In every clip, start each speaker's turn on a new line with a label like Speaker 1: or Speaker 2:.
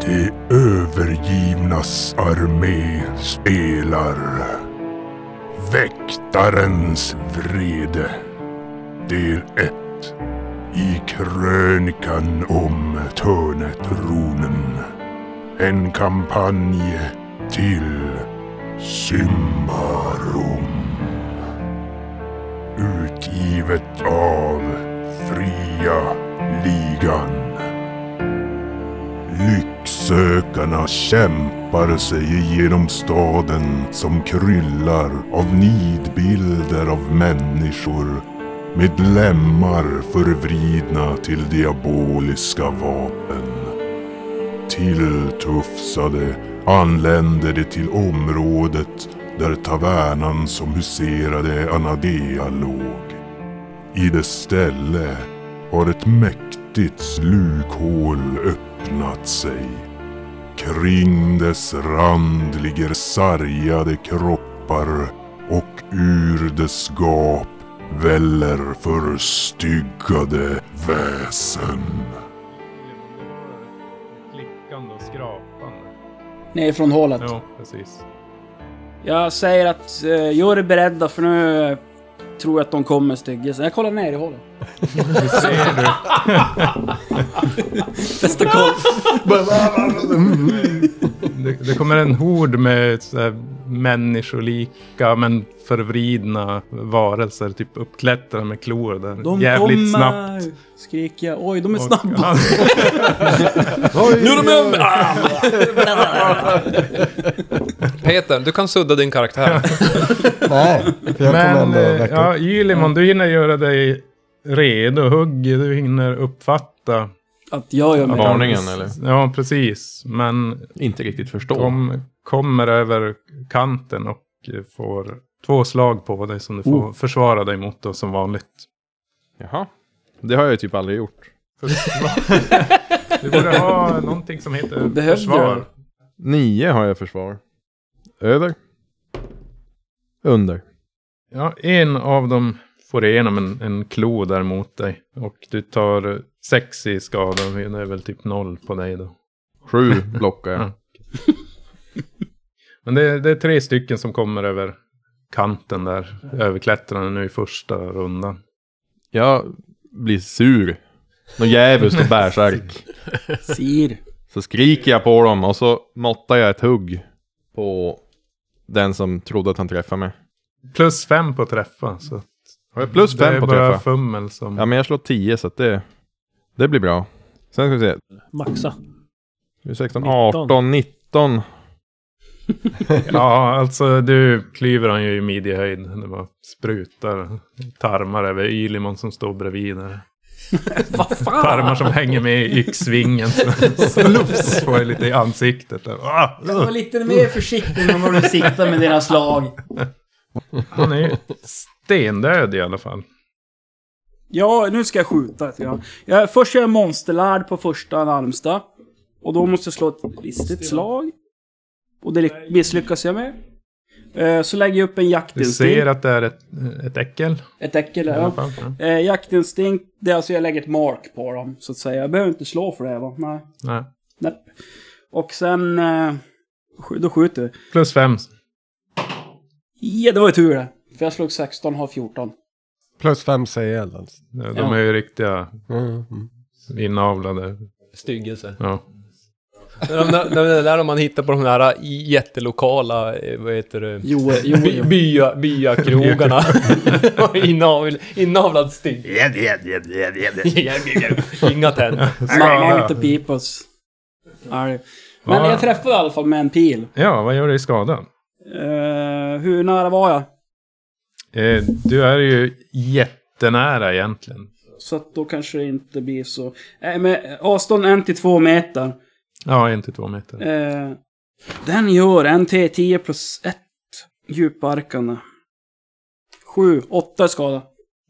Speaker 1: De övergivnas armé spelar Väktarens vrede Del 1 I krönikan om Törnetronen En kampanj till Symbarum Utgivet av Fria Ligan
Speaker 2: Lycksökarna kämpar sig genom staden som kryllar av nidbilder av människor med lemmar förvridna till diaboliska vapen. Tilltufsade anländer de till området där tavernan som huserade Anadea låg. I dess ställe har ett mäktigt slukhål öppnat sig. Kring dess rand ligger sargade kroppar och ur dess gap väller förstyggade väsen.
Speaker 3: Klickande och skrapande.
Speaker 4: Nerifrån hålet.
Speaker 3: Ja, precis.
Speaker 4: Jag säger att eh, gör er beredda för nu eh, tror jag att de kommer styggelse. Jag kollar ner i hålet.
Speaker 3: Det ser du.
Speaker 4: Fästa koll.
Speaker 3: Det, det kommer en hord med så här människolika men förvridna varelser. Typ uppklättrade med klor där.
Speaker 4: De
Speaker 3: Jävligt
Speaker 4: kommer!
Speaker 3: snabbt.
Speaker 4: Skriker jag. Oj, de är
Speaker 3: Och-
Speaker 4: snabba.
Speaker 3: Ja,
Speaker 4: Nu är de över! Ah!
Speaker 5: Peter, du kan sudda din karaktär.
Speaker 6: Nej, för jag kommer
Speaker 3: Men
Speaker 6: ändå
Speaker 3: eh,
Speaker 6: räcka upp.
Speaker 3: ja, Ylimon, du hinner göra dig redo. Hugg, du hinner uppfatta.
Speaker 4: Att jag gör mig.
Speaker 7: Ja. Varningen, eller?
Speaker 3: Ja, precis. Men
Speaker 7: Inte riktigt förstå.
Speaker 3: De kommer över kanten och får två slag på dig som du får
Speaker 4: Oh.
Speaker 3: försvara dig mot då, som vanligt.
Speaker 7: Jaha. Det har jag ju typ aldrig gjort.
Speaker 3: Du borde ha någonting som heter
Speaker 4: Behövde
Speaker 3: försvar.
Speaker 4: jag?
Speaker 7: Nio har jag försvar. Över. Under.
Speaker 3: Ja, en av dem får igenom en, en klo där mot dig. Och du tar sex i skada. Det är väl typ noll på dig då.
Speaker 7: Sju blockar jag.
Speaker 3: Ja. Men det, det är tre stycken som kommer över kanten där. Överklättrande nu i första rundan.
Speaker 7: Jag blir sur. Någon djävulskt och bärsärk.
Speaker 4: Sir.
Speaker 7: Så skriker jag på dem och så måttar jag ett hugg på den som trodde att han träffade mig.
Speaker 3: Plus fem på träffa. Så
Speaker 7: Har jag plus fem på
Speaker 3: Det är bara
Speaker 7: träffa?
Speaker 3: fummel som...
Speaker 7: Ja men jag slår 10 så att det, det blir bra. Sen ska vi se.
Speaker 8: Maxa.
Speaker 7: Nu är 16,
Speaker 8: 19.
Speaker 7: 18, 19.
Speaker 3: Ja, alltså du klyver han ju i midjehöjd. Det bara sprutar tarmar över Ylimon som står bredvid där.
Speaker 4: Vad fan?
Speaker 3: Tarmar som hänger med i yxvingen. Slufs! Får jag lite i ansiktet. Där. Ah!
Speaker 4: Jag var lite mer försiktig med vad du siktar med dina slag.
Speaker 3: Han är ju stendöd i alla fall.
Speaker 4: Ja, nu ska jag skjuta. Ja. Jag, först gör jag monsterlärd på första närmsta. Och då måste jag slå ett listigt slag. Och det lyck- misslyckas jag med. Eh, Så lägger jag upp en
Speaker 3: Du ser
Speaker 4: jaktinstinkt.
Speaker 3: att det är ett, ett äckel.
Speaker 4: Ett äckel,
Speaker 3: I alla
Speaker 4: ja.
Speaker 3: fall. Ja.
Speaker 4: Eh, jaktinstinkt, det är alltså jag lägger ett mark på dem, så att säga. Jag behöver inte slå för det, va? Nej.
Speaker 3: Nej.
Speaker 4: Nej. Och sen... Eh, sk- då skjuter vi.
Speaker 3: Plus fem.
Speaker 4: Ja, det var ju tur det. För jag slog 16, har 14.
Speaker 6: Plus fem CL alltså.
Speaker 3: De
Speaker 4: Ja.
Speaker 3: är ju riktiga
Speaker 6: Mm. mm.
Speaker 3: inavlade.
Speaker 5: Styggelse.
Speaker 3: Ja.
Speaker 5: Det där- det där man hittar på de där jättelokala, eh, vad heter det?
Speaker 4: Jo, eh, jo,
Speaker 5: By,
Speaker 4: jo.
Speaker 5: bya, byakrogarna. Inavel, inavlad stygg. Inga tänder.
Speaker 4: Man inte pipas. Arg. Men
Speaker 3: Ja.
Speaker 4: jag träffade i alla fall med en pil.
Speaker 3: ja, vad gör du i skada?
Speaker 4: Eh, hur nära var jag?
Speaker 3: Eh, du är ju jättenära egentligen.
Speaker 4: Så att då kanske det inte blir så... Eh, men avstånd 1 till 2 meter.
Speaker 3: Ja, en till två meter.
Speaker 4: Eh, den gör en T10 plus 1 djuparkande. 7, 8 skada.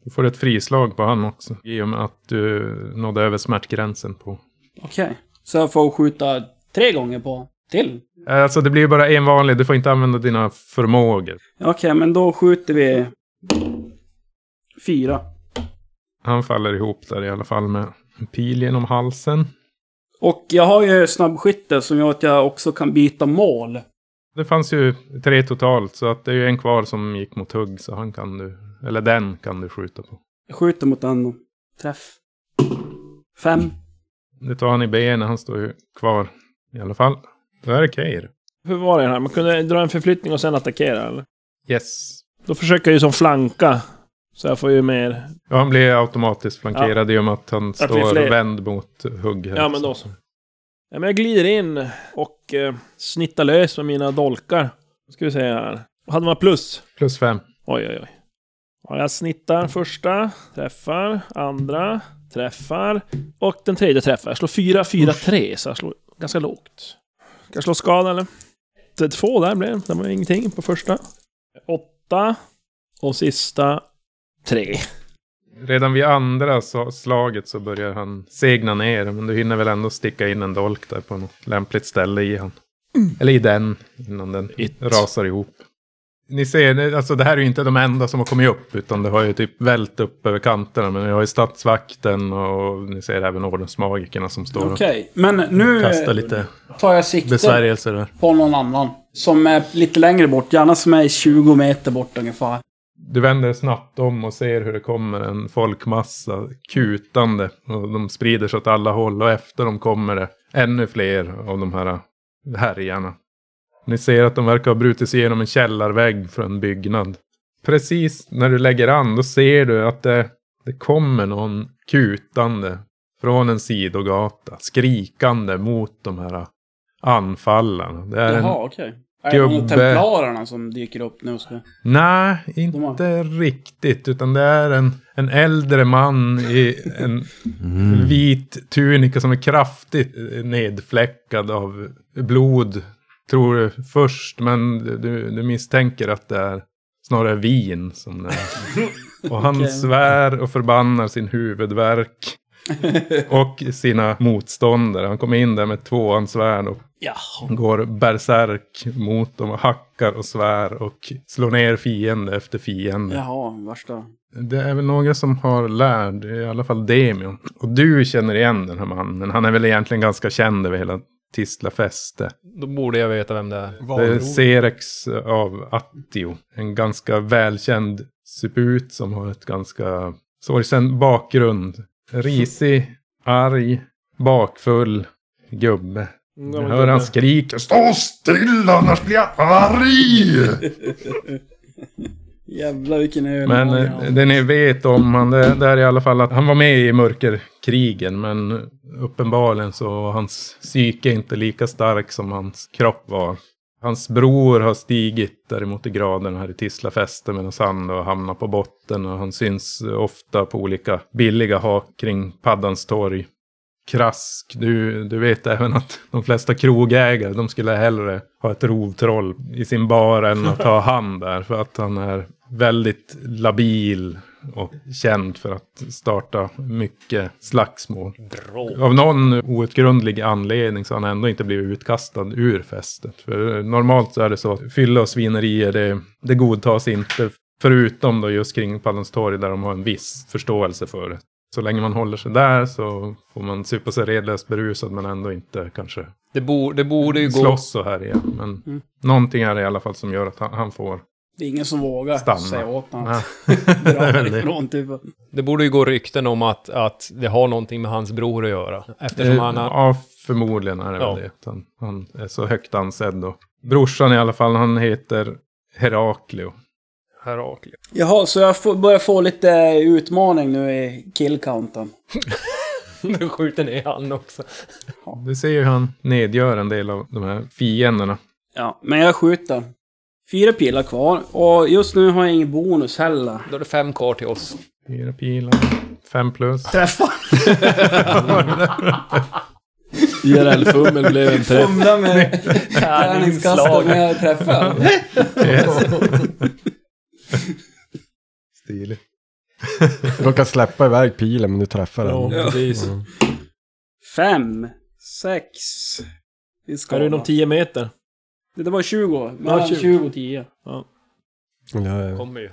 Speaker 3: Du får ett frislag på han också. I och med att du nådde över smärtgränsen på.
Speaker 4: Okej. Så jag får skjuta tre gånger på till.
Speaker 3: Eh, Alltså det blir ju bara en vanlig. Du får inte använda dina förmågor.
Speaker 4: Okej, men då skjuter vi... Fyra.
Speaker 3: Han faller ihop där i alla fall med en pil genom halsen.
Speaker 4: Och jag har ju snabbskytte som gör att jag också kan byta mål.
Speaker 3: Det fanns ju tre totalt så att det är ju en kvar som gick mot hugg så han kan du, eller den kan du skjuta på.
Speaker 4: Jag skjuter mot den och träff. Fem.
Speaker 3: Det tar han i benen, han står ju kvar i alla fall. Då är det Keir.
Speaker 9: Hur var det här? Man kunde dra en förflyttning och sen attackera eller?
Speaker 3: Yes.
Speaker 9: Då försöker jag ju som flanka. Så jag får ju mer...
Speaker 3: Ja, han blir automatiskt flankerad i och med att han
Speaker 9: vi är
Speaker 3: står
Speaker 9: fler.
Speaker 3: vänd mot hugg. här.
Speaker 9: Ja, men då så. Ja, men jag glider in och eh, snittar lös med mina dolkar. Då ska vi se här. Hade man plus?
Speaker 3: Plus fem.
Speaker 9: Oj, oj, oj. Ja, jag snittar första, träffar, andra, träffar och den tredje träffar. Jag slår fyra, fyra, tre, så jag slår ganska lågt. Kan jag slå skada eller? Det är Två där blev det. Det var ingenting på första. Åtta och sista tre.
Speaker 3: Redan vid andra så, slaget så börjar han segna ner. Men du hinner väl ändå sticka in en dolk där på något lämpligt ställe i han. Eller i den, innan den
Speaker 9: It.
Speaker 3: rasar ihop. Ni ser, det- alltså det här är ju inte de enda som har kommit upp. Utan det har ju typ vält upp över kanterna. Men vi har ju statsvakten och ni ser även ordensmagikerna som står
Speaker 4: Okej, men nu
Speaker 3: och kastar
Speaker 4: eh,
Speaker 3: lite
Speaker 4: tar jag sikte
Speaker 3: besvärjelser där.
Speaker 4: på någon annan. Som är lite längre bort, gärna som är 20 meter bort ungefär.
Speaker 3: Du vänder snabbt om och ser hur det kommer en folkmassa kutande. Och de sprider sig åt alla håll och efter dem kommer det ännu fler av de här härjarna. Ni ser att de verkar ha brutit sig igenom en källarvägg från en byggnad. Precis när du lägger an då ser du att det, det kommer någon kutande från en sidogata. Skrikande mot de här anfallarna. Det är en
Speaker 4: Jaha, okej. Är det någon av
Speaker 3: gubbe. Mm.
Speaker 4: templarerna som dyker upp nu? och Ska...
Speaker 3: Nej,
Speaker 4: De
Speaker 3: inte riktigt. Utan det är en, en äldre man i en vit tunika som är kraftigt eh, nedfläckad av blod. Tror du först, men du, du misstänker att det är snarare vin som det är. Och han
Speaker 4: Okej.
Speaker 3: svär och förbannar sin huvudvärk. Och sina motståndare. Han kommer in där med tvåan svärd och
Speaker 4: Jaha.
Speaker 3: går bärsärk mot dem och hackar och svär och slår ner fiende efter fiende.
Speaker 4: Jaha, värsta.
Speaker 3: Det är väl några som har lärd, i alla fall Demion. Och du känner igen den här mannen. Han är väl egentligen ganska känd över hela Tistla fäste.
Speaker 5: Då borde jag veta vem det är.
Speaker 3: Det är Serex av Attio. En ganska välkänd suput som har ett ganska sorgsen bakgrund. Risig, arg, bakfull gubbe. Jag hör han skriker
Speaker 1: Stå still annars blir jag arg!
Speaker 4: Jävlar vilken öl.
Speaker 3: Men eh, det ni vet om han, det, det är i alla fall att han var med i mörkerkrigen. Men uppenbarligen så var hans psyke inte lika stark som hans kropp var. Hans bror har stigit däremot i graden här i Tislafäste medan han då hamnar på botten och han syns ofta på olika billiga hak kring Paddans torg. Krask, du, du vet även att de flesta krogägare, de skulle hellre ha ett rovtroll i sin bar än att ha han där. För att han är väldigt labil och känd för att starta mycket slagsmål. Av någon outgrundlig anledning så har han ändå inte blivit utkastad ur fästet. För normalt så är det så att fylla och svinerier, det, det godtas inte. Förutom då just kring Paddens torg där de har en viss förståelse för det. Så länge man håller sig där så får man supa sig redlöst berusad men ändå inte kanske
Speaker 5: Det, bo, det borde ju gå...
Speaker 3: slåss så här igen. Men
Speaker 4: Mm.
Speaker 3: någonting är det i alla fall som gör att han, han får.
Speaker 4: Det är ingen som vågar
Speaker 3: Stanna.
Speaker 4: säga åt honom.
Speaker 3: Nej.
Speaker 4: att
Speaker 3: Det är
Speaker 4: Dra
Speaker 3: väl det.
Speaker 4: ifrån typ.
Speaker 5: Det borde ju gå rykten om att, att det har någonting med hans bror att göra. Eftersom
Speaker 3: Eh,
Speaker 5: han har...
Speaker 3: Ja, förmodligen är det
Speaker 5: Ja.
Speaker 3: väl det. Han, han är så högt ansedd och Brorsan i alla fall, han heter Heraklio.
Speaker 5: Heraklion.
Speaker 4: Jaha, så jag får, börjar få lite eh, utmaning nu i killcounten.
Speaker 5: Nu skjuter ner han också.
Speaker 3: Du ser ju hur han nedgör en del av de här fienderna.
Speaker 4: Ja, men jag skjuter. Fyra pilar kvar och just nu har jag ingen bonus heller.
Speaker 5: Då är det fem kvar till oss.
Speaker 3: Fyra pilar, fem plus.
Speaker 4: Träffa!
Speaker 9: IRL-fummel blev en träff.
Speaker 4: Fumla med tärningskastaren när jag träffar.
Speaker 3: Stiligt.
Speaker 6: Du råkar släppa iväg pilen men du träffar den.
Speaker 9: Ja, precis.
Speaker 4: Fem, sex. Vi ska
Speaker 9: Är du inom 10 meter?
Speaker 4: Det där var 20. Mellan
Speaker 9: Ja,
Speaker 4: 20.
Speaker 9: 20.
Speaker 4: och 10.
Speaker 6: Ja, ja.
Speaker 5: Kommer ju.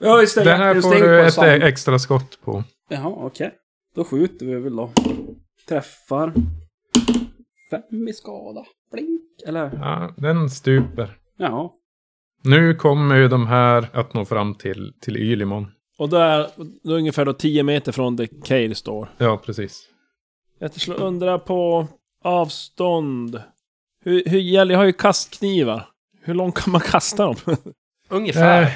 Speaker 4: Ja, just det.
Speaker 3: Den här
Speaker 4: just
Speaker 3: får
Speaker 4: det,
Speaker 3: du
Speaker 4: på
Speaker 3: ett
Speaker 4: sam-
Speaker 3: extra skott på.
Speaker 4: Jaha, okej. Då skjuter vi väl då. Träffar. Fem i skada. Blink. Eller?
Speaker 3: Ja, den stuper.
Speaker 4: Ja.
Speaker 3: Nu kommer ju de här att nå fram till, till Ylimon.
Speaker 9: Och där, då ungefär då 10 meter från där Kael står.
Speaker 3: Ja, precis.
Speaker 9: Jag slår undra på avstånd. Hur, hur gäller, jag har ju kastknivar. Hur långt kan man kasta dem?
Speaker 5: Ungefär.
Speaker 3: Eh,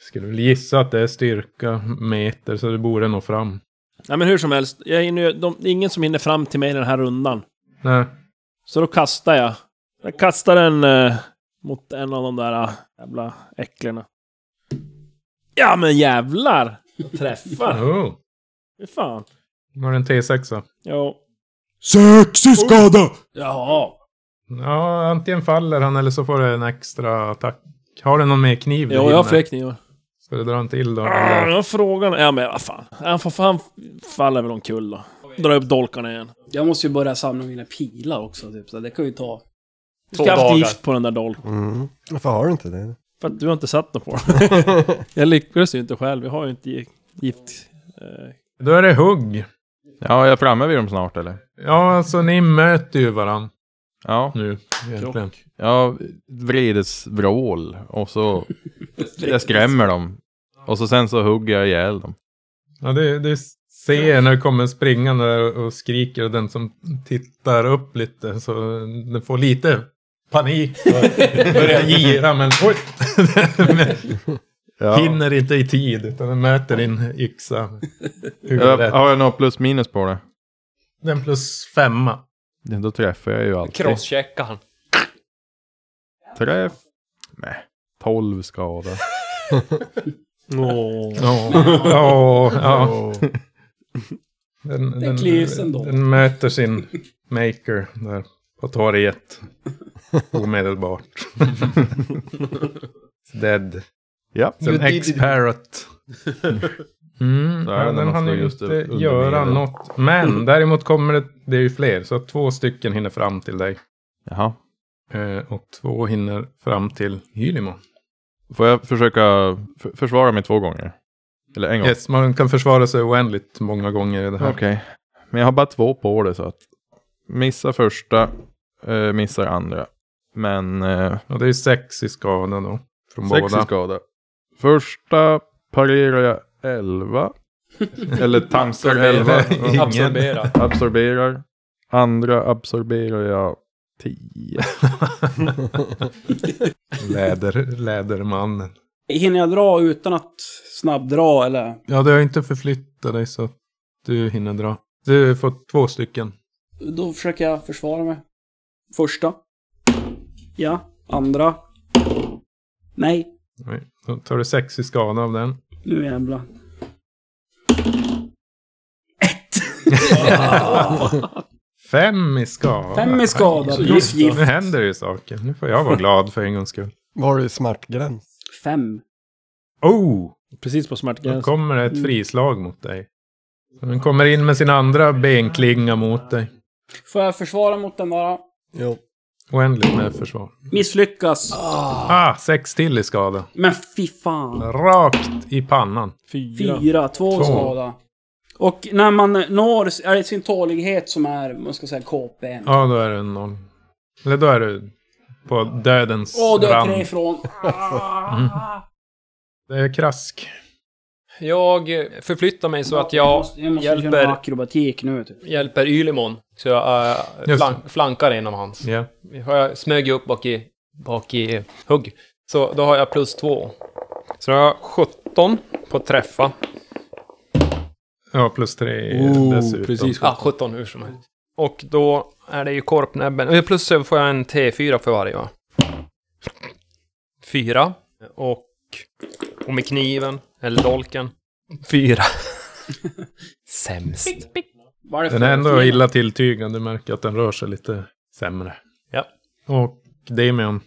Speaker 3: skulle väl gissa att det är styrka meter, så det borde nå fram.
Speaker 9: Nej men hur som helst, jag hinner, ju- de, det är ingen som hinner fram till mig den här rundan.
Speaker 3: Nej,
Speaker 9: Så då kastar jag. Jag kastar den eh, mot en av de där eh, jävla äcklena. Ja men jävlar! Jag träffar!
Speaker 3: oh,
Speaker 9: Fy fan.
Speaker 3: var det en T6?
Speaker 9: Ja.
Speaker 10: Sex i skada!
Speaker 9: Jaha.
Speaker 3: Ja, antingen faller han eller så får du en extra attack. Har du någon mer kniv? du
Speaker 9: Ja, jag har
Speaker 3: hinner?
Speaker 9: fler knivar.
Speaker 3: Ska du dra en till då?
Speaker 9: Ah,
Speaker 3: eller?
Speaker 9: jag frågan. Ja men vad fan. Han, får, han faller väl omkull då. Dra upp dolkarna igen.
Speaker 4: Jag måste ju börja samla mina pilar också, typ. Så det kan ju ta...
Speaker 9: Du
Speaker 5: Två
Speaker 9: ska haft
Speaker 5: dagar.
Speaker 9: gift på den där dolken.
Speaker 6: Mm. Varför har du inte det?
Speaker 9: För att du har inte satt den på den. jag lyckades ju inte själv. Vi har ju inte gi- gift. Eh,
Speaker 3: Då är det hugg.
Speaker 7: Ja, jag är framme vid dem snart eller?
Speaker 3: Ja, alltså ni möter ju varann
Speaker 7: Ja,
Speaker 3: nu. Egentligen.
Speaker 7: jag vrides vrål och så jag skrämmer dem. Och så sen så hugger jag ihjäl dem.
Speaker 3: Ja, det, det ser när du kommer springande där och skriker och den som tittar upp lite så den får lite panik och börjar gira men oj! Men
Speaker 7: Ja.
Speaker 3: Hinner inte i tid utan den möter din yxa.
Speaker 7: Jag,
Speaker 3: Huvudet.
Speaker 7: har jag något plus minus på det?
Speaker 3: Den plus femma.
Speaker 7: Ja, Då träffar jag ju
Speaker 3: Eh,
Speaker 7: alltid.
Speaker 5: Crosscheckar han.
Speaker 7: Träff. Nej, 12 skada.
Speaker 3: Ja, ja, ja.
Speaker 6: Åh.
Speaker 3: Den, den,
Speaker 4: klivs ändå.
Speaker 3: den möter sin maker där på torget. Omedelbart. Dead.
Speaker 7: Ja.
Speaker 3: Som ex-parrot. Mm,
Speaker 7: Så är
Speaker 3: ja,
Speaker 7: det
Speaker 3: den
Speaker 7: när man
Speaker 3: hann
Speaker 7: står
Speaker 3: ju
Speaker 7: just
Speaker 3: inte
Speaker 7: under
Speaker 3: göra
Speaker 7: bilen.
Speaker 3: något. Men däremot kommer det, det är ju fler. Så att två stycken hinner fram till dig.
Speaker 7: Jaha.
Speaker 3: Eh, Och två hinner fram till Hylimo.
Speaker 7: Får jag försöka f- försvara mig två gånger? Eller en gång?
Speaker 3: Yes, man kan försvara sig oändligt många gånger i det här.
Speaker 7: Okej. Men jag har bara två på det så att missa första, eh, missar andra. Men eh,
Speaker 3: Och det är sex i skada då. Från
Speaker 7: sex i
Speaker 3: båda.
Speaker 7: skada. Första parerar jag 11. Eller tankar 11.
Speaker 3: Ingen.
Speaker 5: Absorbera.
Speaker 7: Absorberar. Andra absorberar jag 10.
Speaker 3: Läder, lädermannen.
Speaker 4: Hinner jag dra utan att snabbdra, eller?
Speaker 3: Ja, du har inte förflyttat dig så att du hinner dra. Du får två stycken.
Speaker 4: Då försöker jag försvara mig. Första. Ja. Andra. Nej.
Speaker 3: Nej, Då tar du sex i skada av den.
Speaker 4: Nu jävlar.
Speaker 3: Fem i skada.
Speaker 4: Fem i skada, plus gift.
Speaker 3: Nu händer det ju saker. Nu får jag vara glad för en gångs skull.
Speaker 6: Var du smärtgräns?
Speaker 4: Fem.
Speaker 3: Oh!
Speaker 9: precis på
Speaker 3: Nu
Speaker 9: smärtgränsen.
Speaker 3: kommer det ett frislag mot dig. Den kommer in med sin andra benklinga mot dig.
Speaker 4: Får jag försvara mot den bara?
Speaker 6: Jo.
Speaker 3: Oändligt med försvar.
Speaker 4: Misslyckas.
Speaker 3: Ah, sex till i skada.
Speaker 4: Men fy fan.
Speaker 3: Rakt i pannan.
Speaker 9: Fyra.
Speaker 4: Fyra. Två,
Speaker 3: Två.
Speaker 4: skada. Och när man når, är det sin tålighet som är, man ska säga, KP?
Speaker 3: Ja, då är det noll. Eller då är du på dödens
Speaker 4: Åh, du är
Speaker 3: rand.
Speaker 4: tre ifrån. Ah.
Speaker 3: Det är krask.
Speaker 5: Jag eh, förflyttar mig så att
Speaker 4: Jag
Speaker 5: jag
Speaker 4: måste, jag måste
Speaker 5: hjälper-
Speaker 4: göra akrobatik nu, typ.
Speaker 5: hjälper Ylimon. Så jag eh,
Speaker 3: Just
Speaker 5: flank, flankar en av hans.
Speaker 3: Ja.
Speaker 5: Jag smög ju upp bak i, bak i hugg. Så då har jag plus två. Så då har jag 17 på att träffa.
Speaker 3: Ja, plus tre dessutom.
Speaker 9: precis.
Speaker 5: Ja, 17 hur som helst. Och då är det ju korpnäbben. Eh, Plus så får jag en T4 för varje va? Fyra. Och, och med kniven, eller dolken. Fyra. Sämst.
Speaker 4: Varför?
Speaker 3: Den är ändå illa tilltygad. Du märker att den rör sig lite sämre.
Speaker 5: Ja.
Speaker 3: Och Damien,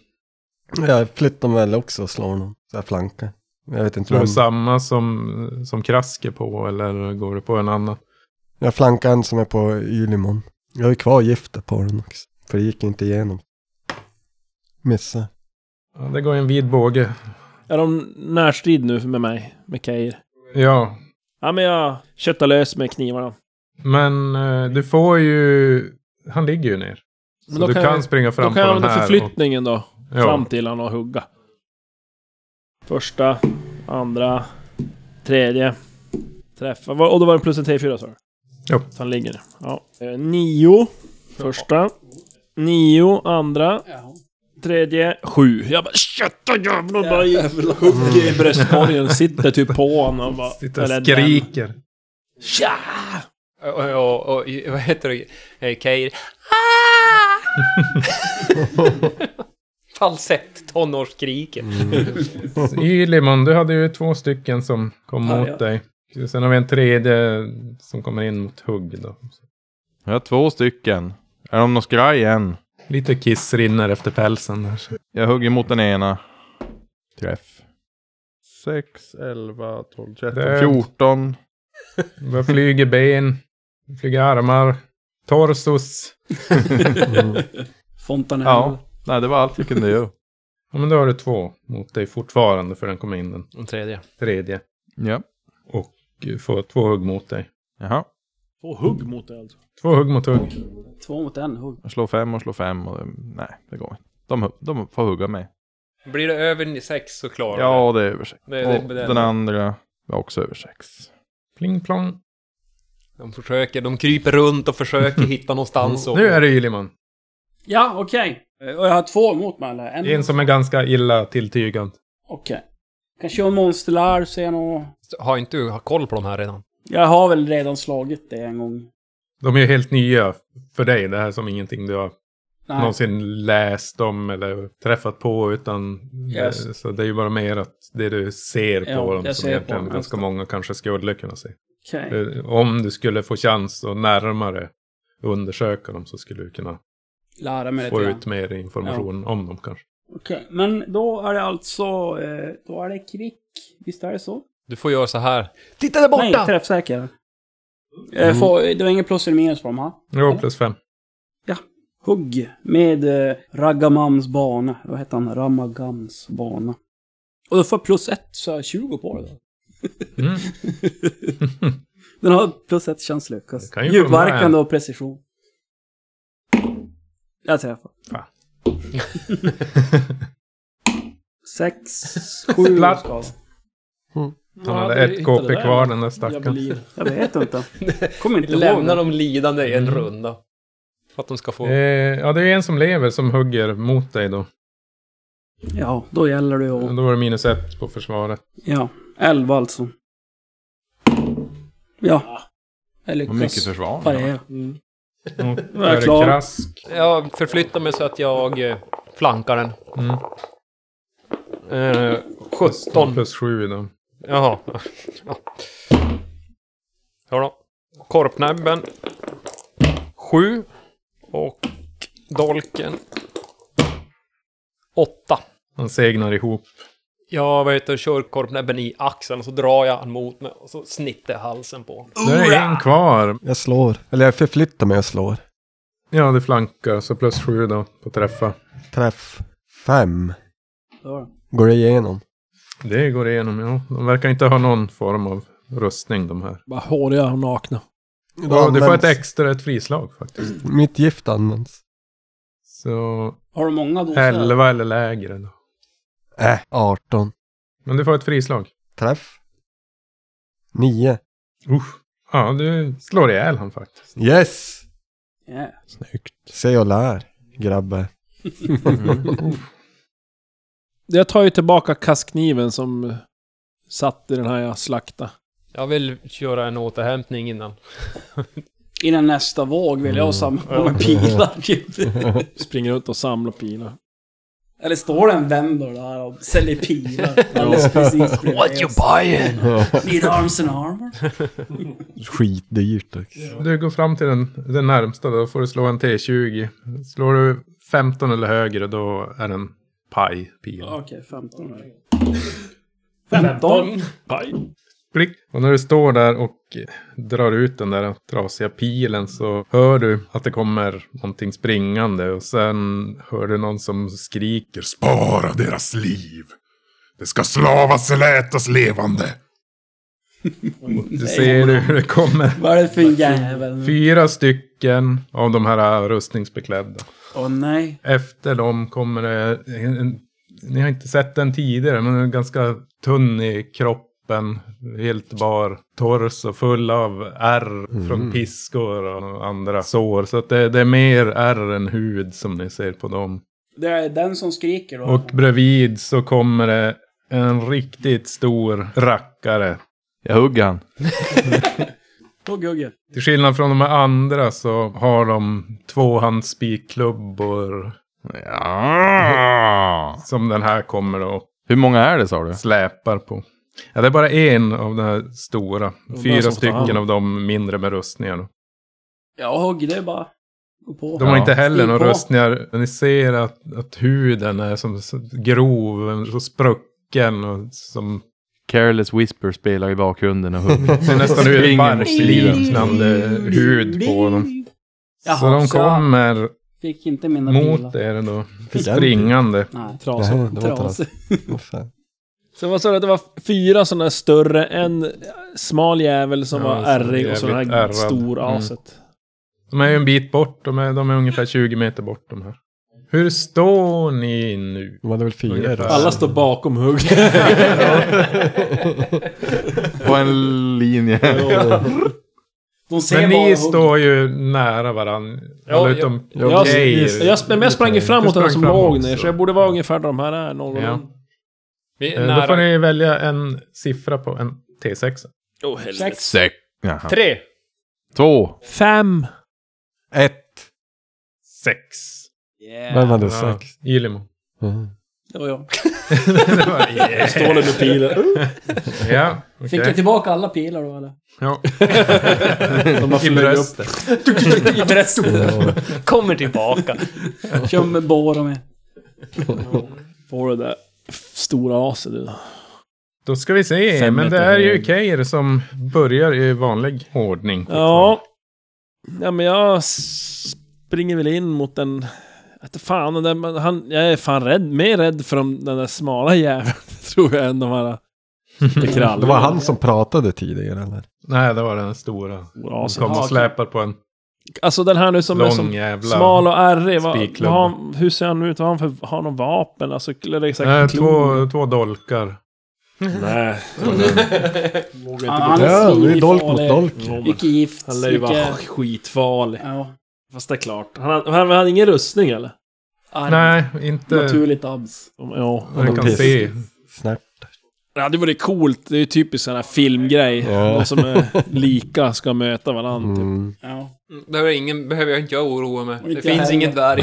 Speaker 6: Jag flyttar mig väl också och slår honom. Så jag flankar. Jag vet inte
Speaker 3: tror
Speaker 6: vem.
Speaker 3: du samma som, som krask är på eller går du på en annan?
Speaker 6: Jag flankar en som är på Ylimon. Jag har ju kvar giftet på den också. För det gick inte igenom. Missa.
Speaker 3: Ja, det går en vid båge.
Speaker 9: Är de närstrid nu med mig? Med Kair?
Speaker 3: Ja,
Speaker 9: Ja men jag köttar lös med knivarna.
Speaker 3: Men eh, du får ju... Han ligger ju ner. Så
Speaker 9: då
Speaker 3: du kan,
Speaker 9: kan jag-
Speaker 3: springa fram
Speaker 9: Då
Speaker 3: på
Speaker 9: kan jag
Speaker 3: den
Speaker 9: använda
Speaker 3: här.
Speaker 9: förflyttningen då.
Speaker 3: och- ja.
Speaker 9: Fram till han och hugga. Första, andra, tredje. Träffa. Va- Och då var det plus en T4 sa du?
Speaker 3: Ja.
Speaker 9: Så han ligger nu. Ja. Eh, Nio. Första. Nio. Andra. Tredje. Sju. Jag bara kötta jävlar. Bara jävla hugg i bröstkorgen. Sitter typ på honom och bara...
Speaker 3: Sitter och
Speaker 9: eller den.
Speaker 3: skriker.
Speaker 9: Tja!
Speaker 5: Och, och, och, vad heter det? Eh, Keir. Ah! Falsett, tonårsskriket.
Speaker 3: Mm. Ylimon, du hade ju två stycken som kom
Speaker 4: Ja,
Speaker 3: mot
Speaker 4: ja.
Speaker 3: dig. Sen har vi en tredje som kommer in mot hugg då.
Speaker 7: Jag har två stycken. Är de någon skraj än?
Speaker 3: Lite kiss rinner efter pälsen där. så.
Speaker 7: Jag hugger mot den ena. Träff. 6, 11, 12, 13,
Speaker 3: Död.
Speaker 7: 14.
Speaker 3: Vad flyger ben, flyger armar, torsos.
Speaker 4: Fontanell.
Speaker 7: Ja, nej det var allt jag kunde göra.
Speaker 3: Ja men då har du två mot dig fortfarande för den kom in den
Speaker 5: Den tredje.
Speaker 3: tredje.
Speaker 7: Ja,
Speaker 3: Och får två hugg mot dig.
Speaker 7: jaha.
Speaker 9: Två hugg mot dig alltså.
Speaker 3: Två hugg mot hugg.
Speaker 4: Två mot en. hugg.
Speaker 7: Jag slår fem och slår fem och nej, det går inte. De, de får hugga mig.
Speaker 5: Blir det över sex så klarar du
Speaker 7: Ja, det är över sex.
Speaker 5: Det- det-
Speaker 7: och
Speaker 5: det-
Speaker 7: den andra var också över sex.
Speaker 3: Pling plong.
Speaker 5: De försöker, de kryper runt och försöker hitta någonstans. Och,
Speaker 3: Nu är det Ylimon.
Speaker 4: Ja, okej. Eh, Och jag har två emot mig eller? En?
Speaker 3: En som är ganska illa tilltygad.
Speaker 4: Okej. Kanske jag monsterlar, så jag nog...
Speaker 5: Har inte du koll på de här redan?
Speaker 4: Jag har väl redan slagit det en gång.
Speaker 3: De är ju helt nya för dig. Det här är som ingenting du har
Speaker 4: Nej.
Speaker 3: någonsin läst om eller träffat på utan
Speaker 4: Yes.
Speaker 3: eh, så det är ju bara mer att det du ser på
Speaker 4: Ja,
Speaker 3: dem
Speaker 4: jag
Speaker 3: som
Speaker 4: ser på
Speaker 3: egentligen
Speaker 4: dem, just
Speaker 3: ganska
Speaker 4: det.
Speaker 3: många kanske skulle kunna se.
Speaker 4: Okej.
Speaker 3: Eh, Om du skulle få chans att närmare undersöka dem så skulle du kunna
Speaker 4: Lära mig
Speaker 3: få
Speaker 4: lite grann.
Speaker 3: ut mer information om dem kanske.
Speaker 4: Okej, men då är det alltså... eh, Då är det kvick. Visst är det så?
Speaker 5: Du får göra så här. Titta där
Speaker 4: Nej,
Speaker 5: borta!
Speaker 4: träffsäker. Mm. Får, det var ingen plus eller minus på de här.
Speaker 3: Jo, plus fem.
Speaker 4: Hugg med eh, Ragamams bana. Vad heter han? Ramagams bana. Och då får jag plus ett, så jag har 20 på det då.
Speaker 3: Mm.
Speaker 4: Den har plus ett chans lyckas.
Speaker 3: Det kan ju komma
Speaker 4: Djupverkande
Speaker 3: en.
Speaker 4: och precision. Jag träffar.
Speaker 3: Fan.
Speaker 4: Sex, sju
Speaker 3: Platt.
Speaker 4: skador.
Speaker 3: Han hade ett KP kvar den där stackaren.
Speaker 9: Javelin.
Speaker 4: Jag vet inte. Kommer inte ihåg.
Speaker 5: Lämna
Speaker 4: det.
Speaker 5: dem lidande i en runda. Mm. För att de ska få...
Speaker 3: Eh, ja, det är en som lever som hugger mot dig då.
Speaker 4: Ja, då gäller det att...
Speaker 3: Då var det minus ett på försvaret.
Speaker 4: Ja, elva alltså. Ja. Jag
Speaker 7: Vad mycket
Speaker 4: lyckas
Speaker 7: försvar.
Speaker 4: parera. Mm,
Speaker 3: Och där
Speaker 4: jag
Speaker 3: Mm. är
Speaker 4: klar.
Speaker 3: krask.
Speaker 5: Jag förflyttar mig så att jag eh, flankar den.
Speaker 3: Mm.
Speaker 5: Eh, 17.
Speaker 3: Plus sju då.
Speaker 5: Jaha. Ja. Ja då. Korpnäbben. Sju. Och dolken. Åtta.
Speaker 3: Han segnar ihop.
Speaker 5: Jag vet inte, kör korpnäbben i axeln och så drar jag han mot mig och så snittar jag halsen på.
Speaker 3: Där är en kvar.
Speaker 6: Jag slår. Eller jag förflyttar mig och slår.
Speaker 3: Ja, det flankar. Så plus sju då på träffa.
Speaker 6: Träff. Fem.
Speaker 4: Ja.
Speaker 6: Går det igenom?
Speaker 3: Det går igenom, ja. De verkar inte ha någon form av rustning de här.
Speaker 9: Bara håriga och nakna.
Speaker 3: Ja, du får ett
Speaker 6: används-
Speaker 3: extra, ett frislag faktiskt.
Speaker 6: Mitt gift används.
Speaker 3: Så
Speaker 4: Har du många doser?
Speaker 3: 11 eller lägre då.
Speaker 6: Äh, 18.
Speaker 3: Men du får ett frislag.
Speaker 6: Träff. 9.
Speaker 3: Usch. Ja, du slår ihjäl han faktiskt.
Speaker 6: Yes!
Speaker 4: Ja.
Speaker 6: Snyggt. Se och lär, grabbar.
Speaker 9: Jag tar ju tillbaka kastkniven som eh, satt i den här jag slaktade.
Speaker 5: Jag vill göra en återhämtning innan.
Speaker 4: Innan nästa våg vill jag
Speaker 7: Mm.
Speaker 4: samla på mig pilar typ.
Speaker 9: Springer runt och samlar pilar.
Speaker 4: Eller står det en vendor där och säljer pilar? Alldeles precis bredvid.
Speaker 5: buying?
Speaker 4: Need arms and armor?
Speaker 6: Skitdyrt också.
Speaker 3: Du går fram till den, den närmsta då får du slå en T20. Slår du 15 eller högre då är den paj pil.
Speaker 4: Okej, 15 här. 15?
Speaker 3: Blick. Och när du står där och drar ut den där trasiga pilen så hör du att det kommer någonting springande och sen hör du någon som skriker.
Speaker 1: Spara deras liv. Det ska slavas eller ätas levande.
Speaker 3: Du ser hur det kommer
Speaker 4: Vad är det för jävel?
Speaker 3: fyra stycken av de här rustningsbeklädda.
Speaker 4: Åh nej.
Speaker 3: Efter dem kommer det... En, en, ni har inte sett den tidigare, men den är ganska tunn i kroppen. Helt bar torso, full av ärr från piskor och andra sår. Så att det, det är mer ärr än hud som ni ser på dem.
Speaker 4: Det är den som skriker då.
Speaker 3: Och bredvid så kommer det en riktigt stor rackare.
Speaker 7: Jag hugger han.
Speaker 4: Hugg, hugg.
Speaker 3: Till skillnad från de här andra så har de tvåhandsspikklubbor
Speaker 7: Ja.
Speaker 3: som den här kommer och
Speaker 7: Hur många är det sa du?
Speaker 3: släpar på. Ja, det är bara en av de här stora.
Speaker 9: bara
Speaker 3: Fyra
Speaker 9: som fan.
Speaker 3: stycken av de mindre med rustningar. då.
Speaker 4: Ja, hugg, det är bara gå på.
Speaker 3: De har
Speaker 7: Ja.
Speaker 3: inte heller
Speaker 4: Stig
Speaker 3: några
Speaker 4: på.
Speaker 3: rustningar. Men ni ser att, att huden är som så grov, så sprucken och som
Speaker 7: Careless Whisper spelar i bakgrunden och hugger.
Speaker 3: ser nästan ut som
Speaker 7: Springer mot stilen.
Speaker 3: barkliknande hud på dem. så
Speaker 4: Jaha,
Speaker 3: de
Speaker 4: så jag-
Speaker 3: kommer
Speaker 4: Fick inte mina
Speaker 3: mot
Speaker 4: bilar.
Speaker 3: er då.
Speaker 6: Fick jag en bil?
Speaker 3: Springande.
Speaker 4: Nej.
Speaker 9: Trasor.
Speaker 6: Nej, det var inte alls.
Speaker 4: Trasig.
Speaker 6: Åh, fan.
Speaker 9: Så vad sa du? Det var fyra sådana här större, en smal jävel som
Speaker 3: Ja,
Speaker 9: var
Speaker 3: som
Speaker 9: ärrig och så den
Speaker 3: jävligt
Speaker 9: här
Speaker 3: ärrad.
Speaker 9: stor
Speaker 3: Mm.
Speaker 9: aset.
Speaker 3: De är ju en bit bort. De är, de är ungefär 20 meter bort de här. Hur står ni nu?
Speaker 6: De hade väl fyra
Speaker 3: Ungefär.
Speaker 6: då?
Speaker 9: Alla står bakom hugg.
Speaker 7: På en linje.
Speaker 4: De ser
Speaker 3: Men
Speaker 4: bara
Speaker 3: ni
Speaker 4: hugg.
Speaker 3: står ju nära varandra.
Speaker 9: Ja,
Speaker 3: Alla
Speaker 9: jag-
Speaker 3: utom
Speaker 9: Jag, jag,
Speaker 3: Geir.
Speaker 9: jag, men jag sprang ju fram
Speaker 3: Du
Speaker 9: mot den
Speaker 3: sprang
Speaker 9: som
Speaker 3: framåt,
Speaker 9: låg ner,
Speaker 3: så.
Speaker 9: så jag borde vara ungefär där de här är. Någon
Speaker 3: Ja.
Speaker 5: Vi
Speaker 3: Eh,
Speaker 5: är
Speaker 3: Då
Speaker 5: nära.
Speaker 3: får ni välja en siffra på en T6.
Speaker 9: Åh, helvete.
Speaker 4: Sex.
Speaker 7: Sex. Jaha.
Speaker 5: Tre!
Speaker 7: Två.
Speaker 9: Fem!
Speaker 6: Ett.
Speaker 3: Sex.
Speaker 6: Vem
Speaker 4: Yeah.
Speaker 6: hade sex?
Speaker 3: Ilimo.
Speaker 6: Mm.
Speaker 4: Det var jag.
Speaker 3: Det var- yeah.
Speaker 9: Står det med pilen.
Speaker 3: Ja, okej.
Speaker 4: Fick jag tillbaka alla pilar då eller?
Speaker 3: Ja.
Speaker 9: De har
Speaker 3: I
Speaker 9: flugit upp.
Speaker 3: bröstet.
Speaker 4: I bröstet.
Speaker 5: Kommer tillbaka.
Speaker 4: Kör med bår och med.
Speaker 9: Får det där stora aset du.
Speaker 3: Då ska vi se.
Speaker 9: Fem
Speaker 3: Men det
Speaker 9: meter
Speaker 3: är ju
Speaker 9: hög.
Speaker 3: Keir som börjar i vanlig ordning.
Speaker 9: Ja. Ja, men jag springer väl in mot den... Att fan, den där, men han, jag är fan rädd, mer rädd för de, den där smala jäveln, tror jag, än de här...
Speaker 6: Det var han som pratade tidigare eller?
Speaker 3: Nej, det var den stora. Som
Speaker 9: Asen.
Speaker 3: kommer och släpar på en
Speaker 9: Alltså den här nu som är
Speaker 3: lång
Speaker 9: som
Speaker 3: jävla...
Speaker 9: smal och ärrig. Vad, vad
Speaker 3: spikklubba.
Speaker 9: har, han- hur ser han ut? Vad Har han för... Har han någon vapen? Alltså, eller exakt
Speaker 3: Nej,
Speaker 9: klor?
Speaker 3: två, två dolkar.
Speaker 9: Nej. Ah,
Speaker 4: Han, han
Speaker 6: Ja, nu är
Speaker 4: svinfarlig.
Speaker 6: det dolk mot dolk.
Speaker 4: Mycket gift.
Speaker 9: Han lär ju vara
Speaker 4: mycket...
Speaker 9: skitfarlig.
Speaker 4: Ja.
Speaker 9: Fast det är klart. Han, han, han hade ingen rustning eller?
Speaker 4: Arm.
Speaker 3: Nej, inte...
Speaker 4: Naturligt abs.
Speaker 9: Ja.
Speaker 3: vad Jag kan
Speaker 6: Piss.
Speaker 3: se.
Speaker 6: Snärt.
Speaker 9: Det hade varit coolt. Det är ju typiskt sån här filmgrej.
Speaker 6: Ja.
Speaker 9: De som är lika ska möta varandra. Typ.
Speaker 6: Mm.
Speaker 4: Ja.
Speaker 5: Behöver, ingen, behöver jag inte jag oroa mig.
Speaker 4: Inte
Speaker 5: Det finns
Speaker 4: heller.
Speaker 5: inget värre.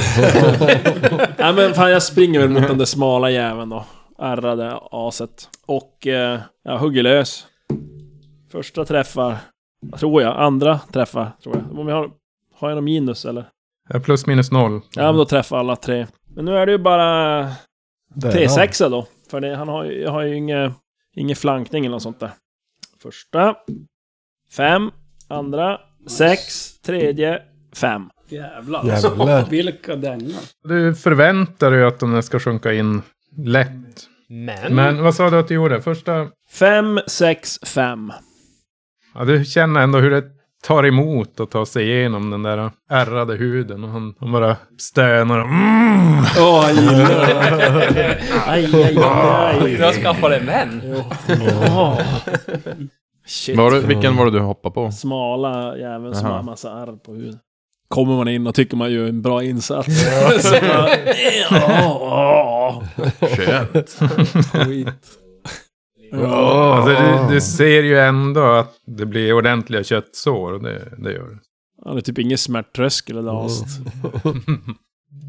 Speaker 9: Nej men fan jag springer väl mot den där smala jäveln då. Ärrade aset. Och eh, jag hugger lös. Första träffar, tror jag. Andra träffar, tror jag. Om jag har, har jag någon minus eller?
Speaker 3: Ja, Plus minus noll.
Speaker 9: Ja men då träffar alla tre. Men nu är det ju bara
Speaker 6: Där
Speaker 9: T6 då. För det, han har, ju- jag har ju inge, ingen flankning eller något sånt där. Första. Fem. Andra. Sex. Tredje. Fem.
Speaker 4: Jävlar.
Speaker 6: Jävlar.
Speaker 4: Vilka dängar.
Speaker 3: Du förväntar dig att de där ska sjunka in lätt.
Speaker 9: Mm.
Speaker 5: Men...
Speaker 3: Men vad sa du att du gjorde? Första...
Speaker 9: Fem, sex, fem.
Speaker 3: Ja, du känner ändå hur det tar emot att ta sig igenom den där ärrade huden. Och han, han bara stönar. Mm!
Speaker 9: Åh, jag gillar det. Aj, aj, aj.
Speaker 5: Jag skaffade män.
Speaker 9: Åh. Shit.
Speaker 7: Var du, vilken var det du hoppade på?
Speaker 9: Smala jäveln som
Speaker 7: Jaha.
Speaker 9: har massa ärr på huden. Kommer man in och tycker man gör en bra insats. Så bara, ja,
Speaker 7: Skönt.
Speaker 3: Mm.
Speaker 9: ja, skit.
Speaker 3: Alltså, du, du ser ju ändå att det blir ordentliga köttsår. och Det, det gör det.
Speaker 9: Han är typ ingen smärttröskel eller aset.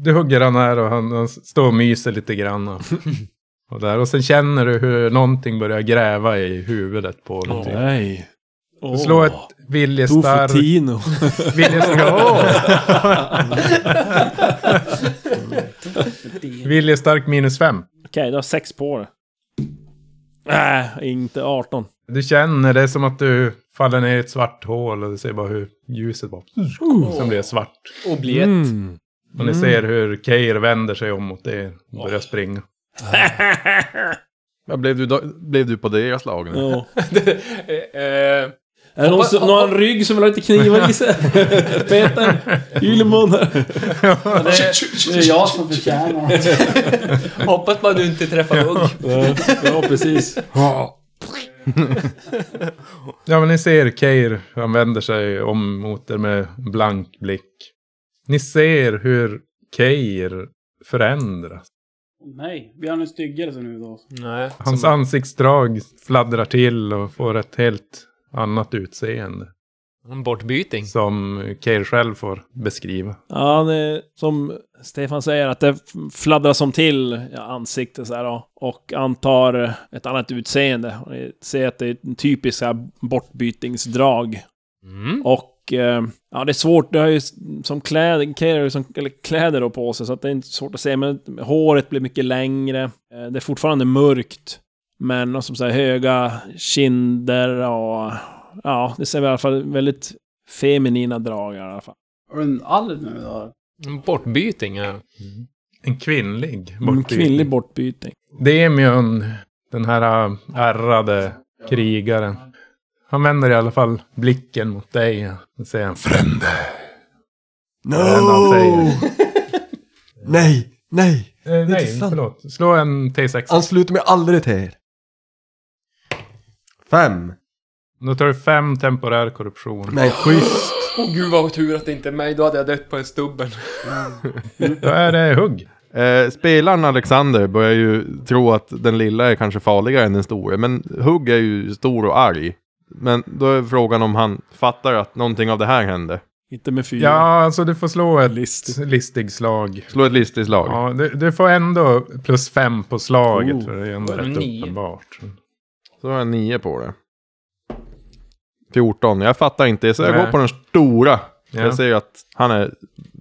Speaker 3: Du hugger han här och han, han står och myser lite grann. Och, och, där. och sen känner du hur någonting börjar gräva i huvudet på honom. typ.
Speaker 9: Nej.
Speaker 3: Du slår ett viljestark...
Speaker 9: Tofutino.
Speaker 3: Viljestark, Mm. viljestark minus fem.
Speaker 9: Okej, du har sex på det. Nej, inte 18.
Speaker 3: Du känner det är som att du faller ner i ett svart hål och du ser bara hur ljuset bara... Som blir svart.
Speaker 5: Och blir ett.
Speaker 3: Och ni ser hur Keir vänder sig om mot er och börjar springa.
Speaker 7: Men blev, du då, blev du på deras lag nu?
Speaker 9: Ja.
Speaker 5: Eh,
Speaker 9: Är det någon, som- någon har en rygg som vill ha lite knivar i sig? Peter? Ylemon här.
Speaker 4: Det är jag som förtjänar det.
Speaker 5: hoppas man du inte träffar hugg.
Speaker 9: Ja, precis.
Speaker 3: Ja, men ni ser Keir, han vänder sig om mot er med blank blick. Ni ser hur Keir förändras.
Speaker 4: Nej, vi har nu styggare så nu då.
Speaker 5: Nej.
Speaker 3: Hans ansiktsdrag fladdrar till och får ett helt annat utseende.
Speaker 5: En bortbyting.
Speaker 3: Som Keir själv får beskriva.
Speaker 9: Ja, det, som Stefan säger, att det fladdrar som till ja, ansiktet så här då, och antar ett annat utseende. Och ni ser att det är en typisk så här bortbytingsdrag.
Speaker 5: Mm.
Speaker 9: Och eh, ja, det är svårt, det har ju s- som kläder, Keir har ju som, eller kläder då på sig, så att det är inte svårt att se, men håret blir mycket längre. Eh, det är fortfarande mörkt, men och som så här höga kinder och ja, det ser i alla fall väldigt feminina drag i alla fall.
Speaker 4: Har du en alv nu då?
Speaker 5: En bortbyting, ja.
Speaker 3: En kvinnlig
Speaker 9: Mm,
Speaker 3: bortbyting.
Speaker 9: Kvinnlig bortbyting.
Speaker 3: Demion, den här äh, ärrade krigaren. Han vänder i alla fall blicken mot dig. och säger
Speaker 1: Frände.
Speaker 6: No!
Speaker 3: Det är det han säger.
Speaker 6: Nej, nej!
Speaker 3: Eh, nej,
Speaker 6: sant.
Speaker 3: förlåt. Slå en T6.
Speaker 6: Ansluter mig aldrig till er. Fem.
Speaker 3: Då tar du fem temporär korruption.
Speaker 6: Men schysst.
Speaker 5: Åh gud vad tur att det inte är mig, då hade jag dött på en stubben.
Speaker 3: Då är det hugg.
Speaker 7: Eh, spelaren Alexander börjar ju tro att den lilla är kanske farligare än den stora. Men Hugg är ju stor och arg. Men då är frågan om han fattar att någonting av det här hände.
Speaker 9: Inte med fyra.
Speaker 3: Ja, alltså du får slå ett listig, slag.
Speaker 7: Slå ett listigt slag.
Speaker 3: Ja, du, du får ändå plus fem på slaget för det är ändå rätt
Speaker 5: Nio.
Speaker 3: uppenbart.
Speaker 7: Så har jag nio på det. 14. Jag fattar inte det, så jag
Speaker 3: Nej.
Speaker 7: går på den stora.
Speaker 3: Ja.
Speaker 7: Jag ser ju att han är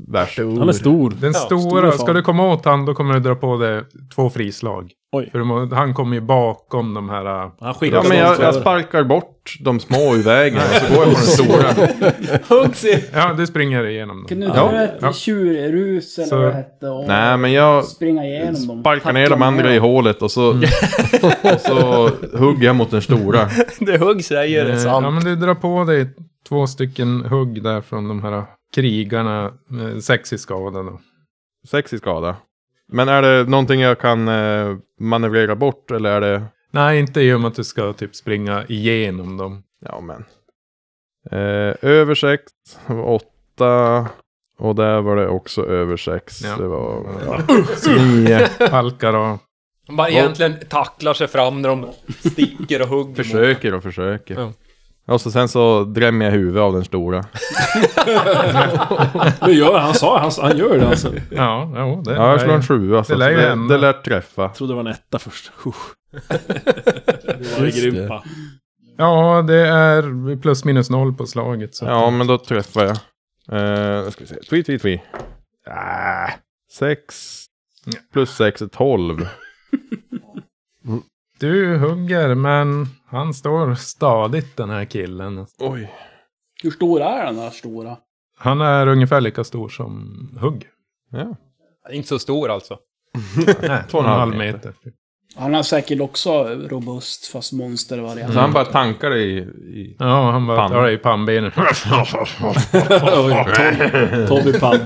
Speaker 7: värst.
Speaker 9: Han är stor.
Speaker 3: Den
Speaker 9: stora
Speaker 3: stora,
Speaker 9: fan.
Speaker 3: ska du komma åt han då kommer du dra på dig två frislag.
Speaker 9: Oj.
Speaker 3: För du må, han kommer ju bakom de här... äh,
Speaker 9: Han skickar
Speaker 7: Ja, men jag,
Speaker 9: dem
Speaker 7: jag
Speaker 9: före.
Speaker 7: sparkar bort de små ur vägen och så går jag på den stora.
Speaker 3: Ja, du springer igenom
Speaker 4: Kan
Speaker 3: dem.
Speaker 4: du
Speaker 7: Ja.
Speaker 4: dra ett
Speaker 3: Ja.
Speaker 4: tjurrus eller
Speaker 3: Så-
Speaker 4: vad det hette? Och
Speaker 7: Nej, men jag
Speaker 4: Springa igenom dem.
Speaker 7: sparkar ner
Speaker 4: Tackla
Speaker 7: de andra
Speaker 4: ner
Speaker 7: i
Speaker 4: dem.
Speaker 7: hålet och
Speaker 3: Mm.
Speaker 7: så, och så hugger jag mot den stora.
Speaker 5: det hugg säger det
Speaker 3: Eh, Ja, men du drar på dig två stycken hugg där från de här krigarna. eh, Sex i skada då.
Speaker 7: Sex i skada. Men är det någonting jag kan eh, manövrera bort eller är det...
Speaker 3: Nej, inte i och med att du ska typ springa igenom dem.
Speaker 7: Ja, men. Eh, över sex, det var åtta. Och där var det också över sex.
Speaker 3: Ja.
Speaker 7: Det var ja, nio.
Speaker 3: Halkar av.
Speaker 5: De bara egentligen tacklar sig fram när de sticker och hugger.
Speaker 7: Försöker och försöker.
Speaker 5: Ja.
Speaker 7: Och så sen så drämmer jag huvudet av den stora.
Speaker 9: Det gör han. Han sa han, han gör det alltså. Jag
Speaker 3: Ja, jo, det
Speaker 7: Ja, jag slår en sjua. Så
Speaker 3: Det lär ju
Speaker 7: det,
Speaker 3: hända.
Speaker 7: det lär träffa.
Speaker 9: trodde det var en etta först. Usch. Det var ju grympa.
Speaker 3: Ja, det är plus minus noll på slaget. Så
Speaker 7: Ja, men då träffar jag. Eh, då ska vi se. Tvi, tvi, tvi. Ah, sex. Plus sex är tolv.
Speaker 3: Du hugger, men han står stadigt den här killen.
Speaker 7: Oj.
Speaker 4: Hur stor är den där stora?
Speaker 3: Han är ungefär lika stor som hugg.
Speaker 7: Ja.
Speaker 5: Inte så stor alltså.
Speaker 3: Nej,
Speaker 7: två och en halv meter.
Speaker 4: Han har säkert också robust fast monstervariant.
Speaker 7: Så han bara tankar i... i...
Speaker 3: Ja, han bara
Speaker 7: Panna.
Speaker 3: tar dig i pannbenet.
Speaker 9: Tobby Pan.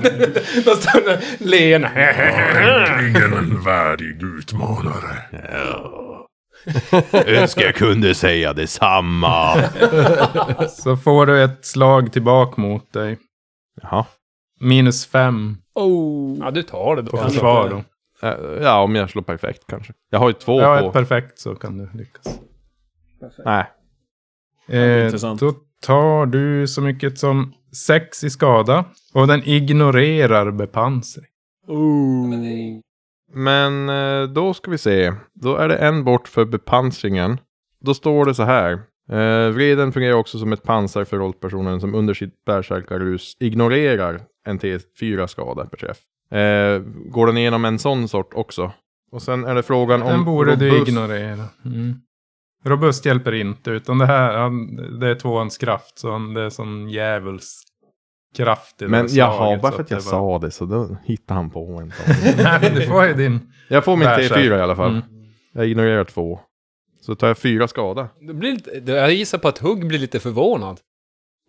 Speaker 5: Då står det len.
Speaker 1: Äntligen en värdig utmanare.
Speaker 7: Önskar jag kunde säga detsamma.
Speaker 3: Så får du ett slag tillbaka mot dig.
Speaker 7: Jaha.
Speaker 3: Minus fem
Speaker 6: Oh.
Speaker 5: Ja, du tar det
Speaker 3: på
Speaker 5: då. alltså.
Speaker 3: försvar då.
Speaker 7: Eh, Ja, om jag slår perfekt kanske. Jag har ju två
Speaker 3: Ja,
Speaker 7: på.
Speaker 3: ett perfekt så kan du lyckas.
Speaker 7: Nej.
Speaker 3: Eh,
Speaker 9: intressant.
Speaker 3: då tar du så mycket som sex i skada. Och den ignorerar bepansring.
Speaker 7: Men eh, då ska vi se. Då är det en bort för bepansringen. Då står det så här. Eh, vreden fungerar också som ett pansar för rollpersonen som under sitt bärsärkarus ignorerar en T4 skada per träff. Eh, går den igenom en sån sort också? Och sen är det frågan om...
Speaker 3: Den borde du
Speaker 7: robust-
Speaker 3: ignorera. Mm. Robust hjälper inte, utan det här han, det är tvåans kraft. Så han, det är sån djävuls kraft i det
Speaker 7: Men
Speaker 3: här
Speaker 7: jaha,
Speaker 3: slaget,
Speaker 7: bara
Speaker 3: så
Speaker 7: för att
Speaker 3: det
Speaker 7: jag
Speaker 3: var-
Speaker 7: sa det så då hittar han på en sån.
Speaker 3: Nej, men du får ju din...
Speaker 7: Jag får min
Speaker 3: Bärsärk.
Speaker 7: T4 i alla fall.
Speaker 3: Mm.
Speaker 7: Jag ignorerar två. Så tar jag fyra skada.
Speaker 5: Det blir lite, det- jag gissar på att Hugg blir lite förvånad.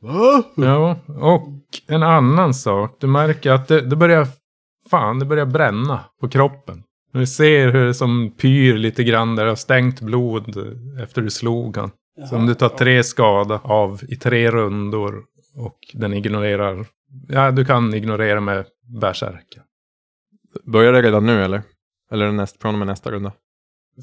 Speaker 7: Mm.
Speaker 3: Ja, och en annan sak. Du märker att det, det börjar... Fan, det börjar bränna på kroppen. Du ser hur det som pyr lite grann där det har stängt blod efter du slog han. Som du tar tre skada av i tre rundor. Och den ignorerar... Ja, du kan ignorera med bärsärken.
Speaker 7: Börjar det redan nu eller? Eller näst, från och med nästa runda?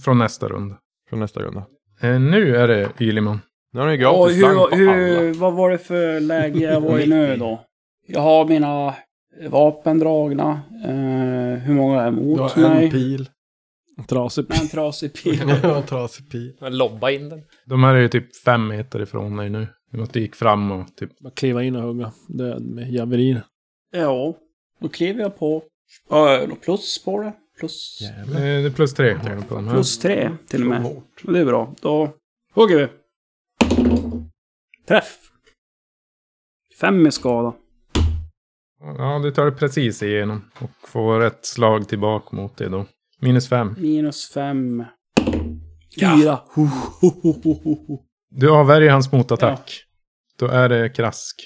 Speaker 3: Från nästa runda.
Speaker 7: Från nästa runda.
Speaker 3: Eh, nu är det Ylimon.
Speaker 7: Nu har ni
Speaker 4: Ja,
Speaker 7: gratis slang på
Speaker 4: hur,
Speaker 7: alla.
Speaker 4: hur, vad var det för läge jag var i nu då? Jag har mina vapen dragna. Eh, hur många är
Speaker 6: Du
Speaker 4: mot
Speaker 6: har en
Speaker 4: mig?
Speaker 6: pil.
Speaker 9: Trasig
Speaker 4: Nej,
Speaker 9: pil.
Speaker 4: en trasig pil.
Speaker 6: Du har en trasig pil.
Speaker 5: Jag lobbar in den.
Speaker 3: De här är ju typ fem meter ifrån dig nu. I och med att Du gick fram och typ...
Speaker 9: Bara kliva in och hugga. Död med javelin.
Speaker 4: Ja, då kliver jag på. Ja, då plus på det. Plus,
Speaker 3: Eh, det är plus tre har du på de här.
Speaker 4: plus tre till och med. Och det är bra. Då hugger vi. Träff! Fem i skada.
Speaker 3: Ja, du tar det precis igenom och får ett slag tillbaka mot det då. Minus fem.
Speaker 4: Minus fem. Fyra. Ho, ho, ho, ho, ho, ho.
Speaker 3: Du avvärjer hans motattack. Då är det krask.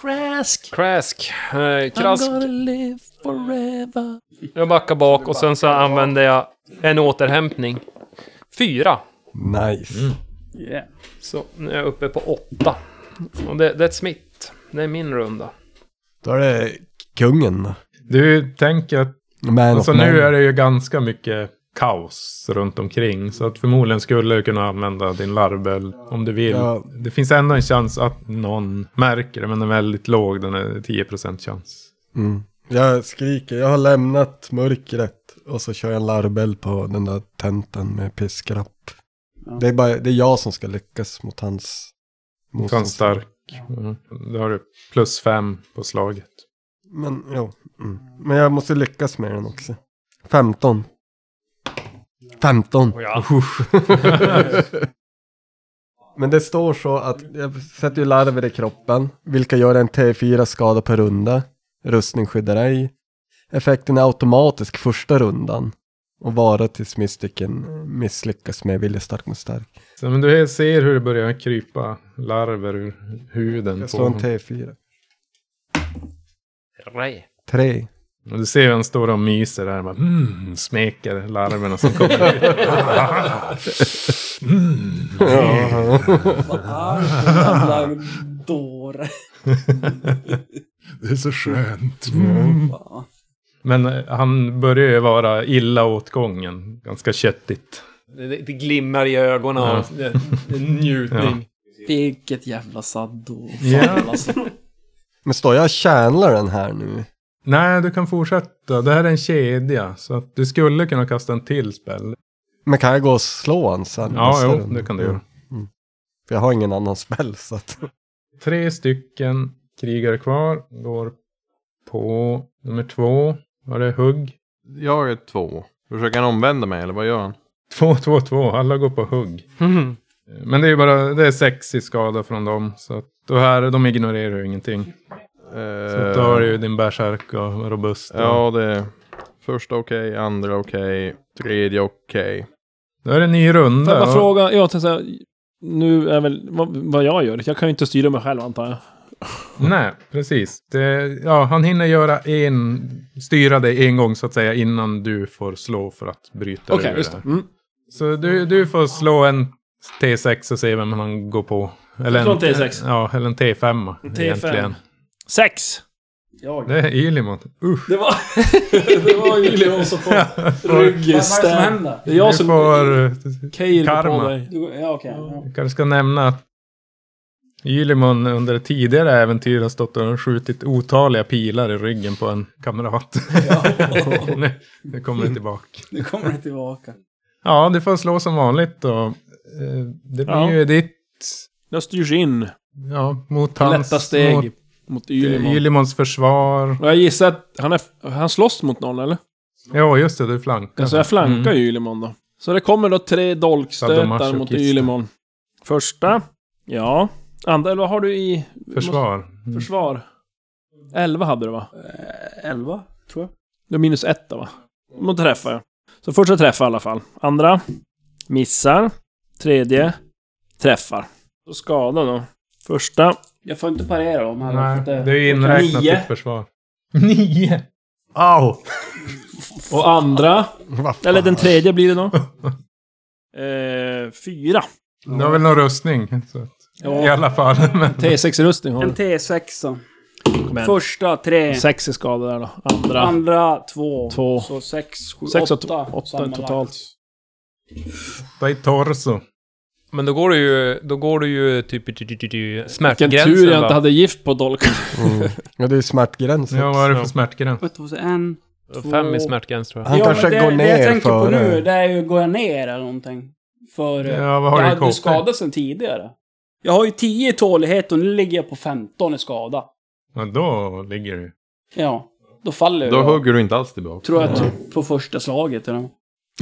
Speaker 9: Crask!
Speaker 5: Crask. Eh, krask.
Speaker 9: I'm gonna live forever.
Speaker 5: Jag backar bak och sen så använder jag en återhämtning. Fyra.
Speaker 6: Nice.
Speaker 4: Yeah.
Speaker 5: Så nu är jag uppe på åtta. Och det, det är ett smitt. Det är min runda.
Speaker 6: Då är det kungen.
Speaker 3: Du tänker att
Speaker 6: Man
Speaker 3: alltså,
Speaker 6: of man.
Speaker 3: nu är det ju ganska mycket kaos runt omkring. Så att förmodligen skulle du kunna använda din larbel om du vill.
Speaker 6: Ja.
Speaker 3: Det finns ändå en chans att någon märker det, men den är väldigt låg. Den är 10% chans.
Speaker 6: Mm. Jag skriker, jag har lämnat mörkret. Och så kör jag en larbel på den där tenten med piskrapp.
Speaker 4: Ja.
Speaker 6: Det, är bara, det är jag som ska lyckas mot hans...
Speaker 3: Så han är stark. Mm. Då har du plus fem på slaget.
Speaker 6: Men, jo. Mm. Men jag måste lyckas med den också. 15. 15.
Speaker 3: Oh
Speaker 5: Och jag
Speaker 6: Men det står så att jag sätter ju larver i kroppen, vilka gör en T4 skada per runda. Rustning skyddar ej. Effekten är automatisk första rundan och varar tills mystiken misslyckas med vilja stark mot stark.
Speaker 3: Så, men du ser hur det börjar krypa larver ur huden på
Speaker 6: Jag slår en
Speaker 3: honom.
Speaker 6: T4.
Speaker 5: Nej.
Speaker 6: Tre.
Speaker 3: Och du ser hur han står och myser där. Man, mm, smeker larverna som kommer. ut.
Speaker 4: Jävla dåre.
Speaker 1: Det är så skönt. Mm.
Speaker 3: men eh, han börjar ju vara illa åt gången. Ganska köttigt.
Speaker 5: Det, det, det glimmar i ögonen av det, det är njutning.
Speaker 4: Vilket jävla saddo. alltså.
Speaker 3: Ja.
Speaker 6: Men står jag och kärnlar den här nu?
Speaker 3: Nej, du kan fortsätta. Det här är en kedja. Så att du skulle kunna kasta en till spel.
Speaker 6: Men kan jag gå och slå han sen?
Speaker 3: Ja,
Speaker 6: nästa
Speaker 3: jo,
Speaker 6: runda?
Speaker 3: det kan du göra.
Speaker 6: För jag har ingen annan spel så att...
Speaker 3: Tre stycken krigare kvar. Går på nummer två. Var det hugg?
Speaker 7: Jag är två. Försöker han omvända mig eller vad gör han?
Speaker 3: Två, två, två. Alla går på hugg.
Speaker 5: Mhm.
Speaker 3: Men det är ju bara det är sex i skada från dem. Så att, och här, de ignorerar ju ingenting. Eh, Så att då har du ju din bärsärk och robust. Och,
Speaker 7: Eh, Ja, det är första okej, andra okej, tredje okej.
Speaker 3: Då är det en ny
Speaker 9: Får jag
Speaker 3: runda.
Speaker 9: bara
Speaker 3: och-
Speaker 9: fråga? Jag tänkte säga, nu är väl vad, vad jag gör. Jag kan ju inte styra mig själv antar jag.
Speaker 3: Nej, precis. Det, ja, han hinner göra en, styra dig en gång så att säga innan du får slå för att bryta
Speaker 9: Okej,
Speaker 3: över
Speaker 9: just
Speaker 3: det. här.
Speaker 9: Mm.
Speaker 3: Så du, du får slå en T6 och se vem han går på. Eller
Speaker 9: Slå en T6.
Speaker 3: Ja, eller en T5.
Speaker 9: T5.
Speaker 3: Egentligen.
Speaker 9: Sex!
Speaker 3: Det är Ylimon. Usch.
Speaker 9: Det var... det var ju Leon som får
Speaker 4: Vad är det som
Speaker 9: ryggstäd.
Speaker 4: händer?
Speaker 9: Det är jag
Speaker 3: du
Speaker 9: som...
Speaker 3: får...
Speaker 9: Keir går på
Speaker 3: karma.
Speaker 9: dig.
Speaker 4: Du, ja, okej. Ja.
Speaker 3: Jag kanske ska nämna att Ylimon under tidigare äventyr har stått och skjutit otaliga pilar i ryggen på en kamrat. nu, nu kommer det tillbaka.
Speaker 4: Nu kommer det tillbaka.
Speaker 3: Ja, du får slå som vanligt då. Eh, Det blir
Speaker 9: Ja.
Speaker 3: ju ditt...
Speaker 9: Jag styrs in.
Speaker 3: Ja, mot hans...
Speaker 9: Lätta steg.
Speaker 3: Mot
Speaker 9: Mot
Speaker 3: eh,
Speaker 9: Ylimon.
Speaker 3: Ylimons försvar.
Speaker 9: Och jag gissar att han, är, han slåss mot någon eller?
Speaker 3: Ja, just det, du flankar.
Speaker 9: Så Alltså, jag flankar ju Ylimon då. Så det kommer då tre dolkstötar mot
Speaker 3: Sadomasochister.
Speaker 9: Ylimon. Första. Ja. Andra, eller vad har du i...
Speaker 3: Försvar. Mm.
Speaker 9: Försvar. 11 hade du va?
Speaker 4: Elva, tror jag.
Speaker 9: Det var minus 1 va? Då träffar jag. Så första träffar i alla fall. Andra. Missar. Tredje. Träffar. Så skada då. Första.
Speaker 4: Jag får inte parera dem här.
Speaker 3: Nej,
Speaker 4: för att
Speaker 3: det är ju inräknat
Speaker 4: Nio.
Speaker 3: ditt försvar. Nio!
Speaker 10: Au!
Speaker 9: Och andra.
Speaker 10: Vad fan?
Speaker 9: Eller den tredje blir det då. Eh, fyra.
Speaker 3: Du har väl någon rustning? Så. att- I
Speaker 9: Ja,
Speaker 3: alla fall. Men
Speaker 9: T6-rustning har
Speaker 4: En
Speaker 9: du.
Speaker 4: T6.
Speaker 9: Kom igen.
Speaker 4: Första tre.
Speaker 9: Sex är skadade där då. Andra.
Speaker 4: Andra två.
Speaker 9: Två.
Speaker 4: Så sex, sju,
Speaker 9: Sex och
Speaker 4: åtta.
Speaker 9: to- åtta
Speaker 4: sammanlagt.
Speaker 9: totalt.
Speaker 3: ta i torso.
Speaker 5: Men då går du ju, då går du ju typ ty- ty- ty- ty-
Speaker 9: Vilken
Speaker 5: smärtgränsen
Speaker 9: tur jag inte
Speaker 5: va?
Speaker 9: hade gift på dolk.
Speaker 6: Mm. Ja, det är smärtgränsen.
Speaker 3: Ja, vad är det för
Speaker 5: Ja.
Speaker 3: smärtgräns?
Speaker 4: Ett, två, så en.
Speaker 5: Fem
Speaker 4: två.
Speaker 5: i smärtgräns tror jag.
Speaker 6: Han
Speaker 4: Ja, men
Speaker 6: kanske
Speaker 4: det,
Speaker 6: går
Speaker 4: det jag
Speaker 6: ner eh,
Speaker 4: tänker på nu,
Speaker 6: före.
Speaker 4: det är ju, går jag ner eller någonting? För...
Speaker 3: eh,
Speaker 4: eh,
Speaker 3: Ja, vad
Speaker 4: jag
Speaker 3: har du i
Speaker 4: hade ju
Speaker 3: kåpor?
Speaker 4: skadat sen tidigare. Jag har ju 10 i tålighet och nu ligger jag på 15 i skada.
Speaker 3: Ja, då ligger du.
Speaker 4: Ja, då faller
Speaker 7: Då
Speaker 4: jag.
Speaker 7: hugger du inte alls tillbaka.
Speaker 4: Tror jag typ på första slaget. Eller? nåt.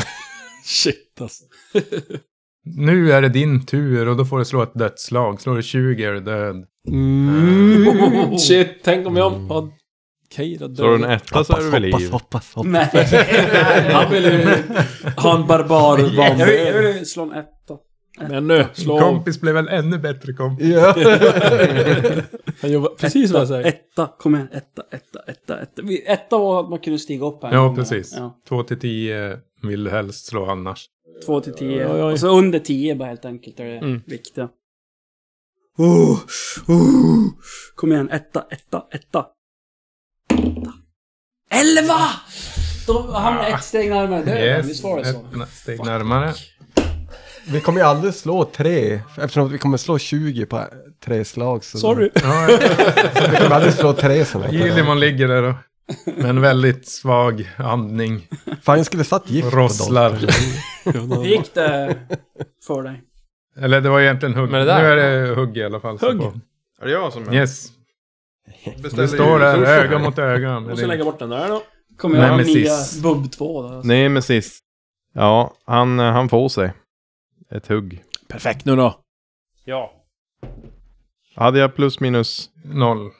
Speaker 9: Shit alltså.
Speaker 3: Nu är det din tur och då får du slå ett dödsslag. Slår du 20 är du död.
Speaker 9: Mm. Oh,
Speaker 3: Mm.
Speaker 9: Shit, tänk om jag hade... Keira
Speaker 7: Slår du en
Speaker 9: död.
Speaker 7: etta så är du vid liv.
Speaker 6: hoppas, hoppas.
Speaker 4: Nej.
Speaker 9: Han ville ju ha en barbar
Speaker 4: jag, vill, jag
Speaker 9: vanvärd.
Speaker 4: vill slå en etta.
Speaker 9: Men nu,
Speaker 3: Din
Speaker 9: slå...
Speaker 3: kompis blev väl ännu bättre kompis.
Speaker 6: Ja.
Speaker 9: Han gör precis vad jag säger.
Speaker 4: Etta, kom igen. Etta, etta, etta, etta. Vi- Etta var att man kunde stiga upp här.
Speaker 3: Ja, precis.
Speaker 4: Ja,
Speaker 3: 2 till 10 vill du helst slå annars.
Speaker 4: två till tio.
Speaker 9: Oj, oj.
Speaker 4: Och så under tio bara helt enkelt är det
Speaker 5: Mm.
Speaker 4: viktiga. Oh, oh. Kom igen, etta, etta, etta. Etta. Elva! Då hamnar ett steg närmare döden, visst var det så?
Speaker 3: Ah. ett nä- steg närmare.
Speaker 6: Vi kommer ju aldrig slå tre, eftersom vi kommer slå 20 på eh, tre slag. Så
Speaker 9: Sorry.
Speaker 3: Ja, ja.
Speaker 6: Vi kommer aldrig slå tre sådana. här.
Speaker 3: Gilimon ligger där och med en väldigt svag andning.
Speaker 6: Fan, jag skulle satt gift
Speaker 3: Och
Speaker 6: på dem.
Speaker 3: rosslar.
Speaker 4: Hur gick det för dig?
Speaker 3: Eller det var egentligen hugg.
Speaker 5: Men det där-
Speaker 3: Nu är det hugg i alla fall. så
Speaker 9: Hugg.
Speaker 3: på.
Speaker 7: Är det jag som är?
Speaker 3: Yes.
Speaker 7: Beställer
Speaker 3: Du står där
Speaker 7: resurser.
Speaker 3: öga mot öga. med
Speaker 9: Måste
Speaker 3: din-
Speaker 9: lägga bort den där då.
Speaker 4: Kommer
Speaker 3: Nej,
Speaker 4: jag ha
Speaker 3: men
Speaker 4: nya
Speaker 3: sist.
Speaker 4: bubb 2 då? Alltså.
Speaker 7: Nej, men sist. Ja, han, eh, han får sig. Ett hugg.
Speaker 9: Perfekt nu då.
Speaker 5: Ja.
Speaker 7: Hade jag plus minus...
Speaker 3: Noll.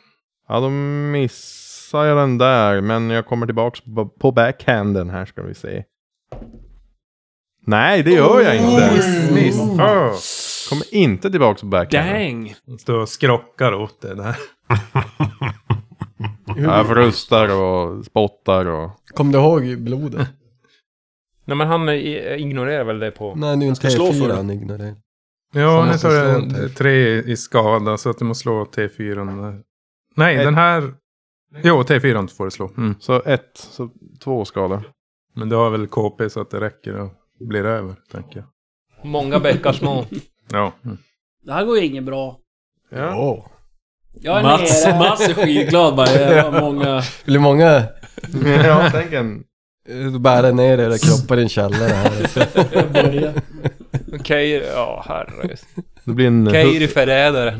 Speaker 7: Ja, då missar jag den där. Men jag kommer tillbaks på, på backhanden här ska vi se. Nej, det gör jag inte.
Speaker 3: Miss. Oh.
Speaker 7: Kommer inte tillbaks på backhanden.
Speaker 9: Dang!
Speaker 3: Står och skrockar åt det där.
Speaker 7: Jag frustar och spottar och...
Speaker 6: Kom du ihåg blodet?
Speaker 5: Nej men han eh, ignorerar väl det på...
Speaker 6: Nej, nu är en
Speaker 9: ska slå för
Speaker 6: T4
Speaker 9: det.
Speaker 6: han ignorerar.
Speaker 3: Ja,
Speaker 6: Så
Speaker 3: nu
Speaker 6: måste
Speaker 3: tar
Speaker 6: jag slå en
Speaker 3: du
Speaker 6: till.
Speaker 3: tre i skada så att du måste slå T4. Nej, den här... Jo, T4 får du slå. Mm.
Speaker 7: Så ett, så två skador.
Speaker 3: Men du har väl KP så att det räcker och blir över, tänker jag.
Speaker 5: Många bäckar små.
Speaker 3: Ja. Mm.
Speaker 4: Det här går ju inget bra.
Speaker 7: Ja.
Speaker 6: Åh.
Speaker 4: Jag är
Speaker 9: Mats,
Speaker 4: nere.
Speaker 9: Mats är skitglad bara. Jävla många...
Speaker 6: Vill du många
Speaker 7: ja, tänk en...
Speaker 6: eh, bära ner era kroppar i en källare här? alltså?
Speaker 5: Okej, ja herregud.
Speaker 7: Det blir en
Speaker 5: Keir är förrädaren.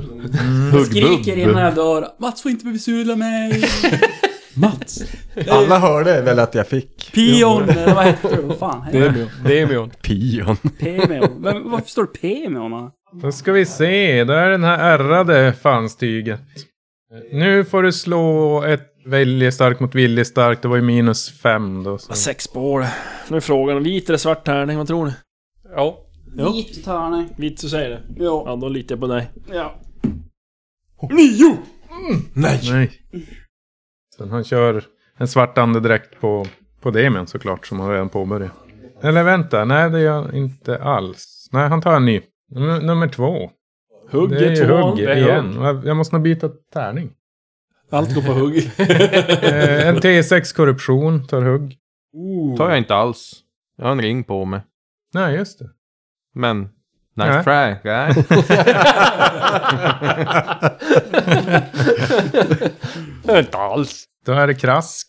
Speaker 7: hugg-
Speaker 4: Skriker
Speaker 7: huggbubb.
Speaker 4: innan jag dör. Mats får inte besudla mig.
Speaker 9: Mats!
Speaker 6: Alla hörde väl att jag fick
Speaker 4: Pion, eller vad heter du? Vad fan heter
Speaker 9: Demio.
Speaker 5: Demion.
Speaker 6: pion.
Speaker 4: Pemeon? Vem, varför står det Pemeon? här?
Speaker 3: Då ska vi se. Då är den här ärrade fanstyget. Nu får du slå ett viljestarkt mot viljestarkt. Det var ju minus fem då. Så.
Speaker 9: Sex på det. Nu är frågan, vit eller svart tärning, vad tror ni?
Speaker 5: Ja.
Speaker 9: Jo.
Speaker 4: Vit tärning.
Speaker 9: Vit så säger det.
Speaker 4: Ja.
Speaker 9: Ja, då litar jag på dig.
Speaker 4: ja.
Speaker 3: Nej. Sen han kör en svart andedräkt på, på Demian såklart som han redan påbörjat. Eller vänta, nej det gör han inte alls. Nej, han tar en ny. Num- nummer två.
Speaker 9: Hugg
Speaker 3: Det är ju
Speaker 9: tvåan.
Speaker 3: hugg
Speaker 9: Det är
Speaker 3: igen. Jag måste nog byta tärning.
Speaker 9: Allt går på hugg.
Speaker 3: Eh, en T6 korruption tar hugg.
Speaker 7: tar jag inte alls. Jag har en ring på mig.
Speaker 3: Nej, just det.
Speaker 7: Men,
Speaker 3: Nej.
Speaker 7: nice try, guy.
Speaker 5: Inte alls.
Speaker 3: Då är det krask.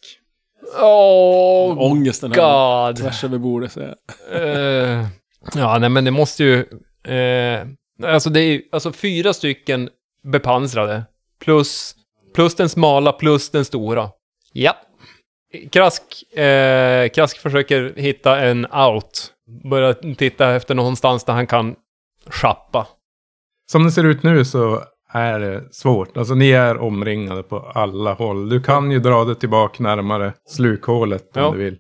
Speaker 5: Åh,
Speaker 9: Ångesten här.
Speaker 5: god.
Speaker 9: Tvärs över bordet säger jag.
Speaker 5: Eh, ja, nej men det måste ju... eh, alltså det är ju- alltså fyra stycken bepansrade. Plus, plus den smala, plus den stora. Ja. Krask, eh, Krask försöker hitta en out. Börjar titta efter någonstans där han kan schappa.
Speaker 3: Som det ser ut nu så är det svårt. Alltså ni är omringade på alla håll. Du kan ju dra det tillbaka närmare slukhålet om
Speaker 5: Ja.
Speaker 3: du vill.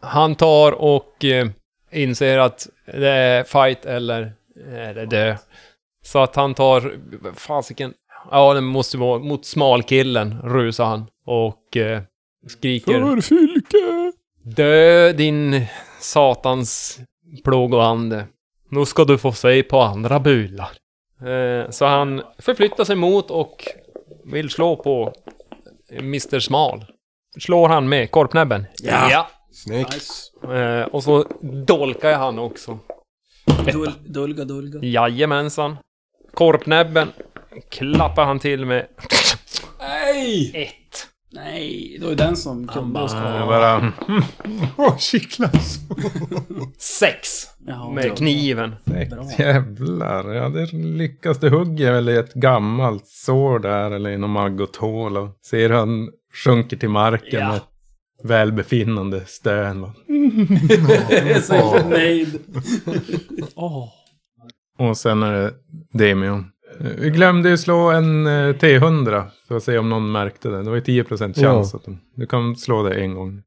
Speaker 5: Han tar och eh, inser att det är fight eller är det dö. Så att han tar, fasiken, ja den måste vara mot smalkillen, rusar han. Och eh, skriker...
Speaker 9: För fylke!
Speaker 5: Dö din satans plågoande. Nu ska du få se på andra bular. Eh, så han förflyttar sig mot och vill slå på Mr Smal. Slår han med korpnäbben?
Speaker 4: Ja.
Speaker 6: Snyggt.
Speaker 4: Nice.
Speaker 5: Eh, och så dolkar jag han också.
Speaker 4: Dul, dulga, dulga.
Speaker 5: Jajamensan. Korpnäbben klappar han till med.
Speaker 4: Nej!
Speaker 5: Ett.
Speaker 4: Nej, det var ju den som kunde oss.
Speaker 3: Jag bara...
Speaker 1: Åh, kittlas.
Speaker 5: Sex.
Speaker 4: Jaha,
Speaker 5: Med
Speaker 4: bra.
Speaker 5: kniven.
Speaker 4: Bra.
Speaker 3: Jävlar, ja det lyckas. Det hugger väl i ett gammalt sår där eller i någon maggothål och ser hur han sjunker till marken
Speaker 4: Ja.
Speaker 3: med ett välbefinnande stön. va.
Speaker 4: Jag är så nöjd.
Speaker 3: Och sen är det Demion. Eh, Vi glömde ju slå en eh, T100 för att se om någon märkte det. Det var ju 10% chans. Att de, du kan slå det en gång.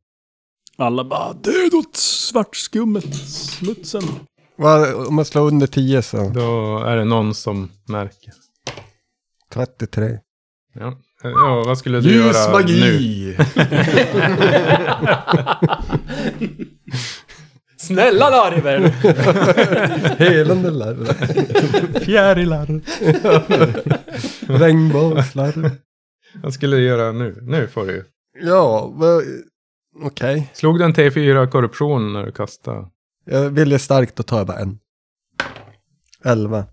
Speaker 9: Alla bara död åt svartskummet, smutsen.
Speaker 6: Va, om man slår under 10 så.
Speaker 3: Då är det någon som märker.
Speaker 6: 33.
Speaker 3: Ja, Eh, ja vad skulle du göra nu?
Speaker 5: Snälla larver!
Speaker 6: Helande larv.
Speaker 3: Fjärilar.
Speaker 6: Regnbågslarv.
Speaker 3: Vad skulle du göra nu? Nu får du ju.
Speaker 6: Ja, va- okej.
Speaker 3: Slog du en T4 korruption när du kastade?
Speaker 6: Jag ville starkt, då tar jag bara en. 11.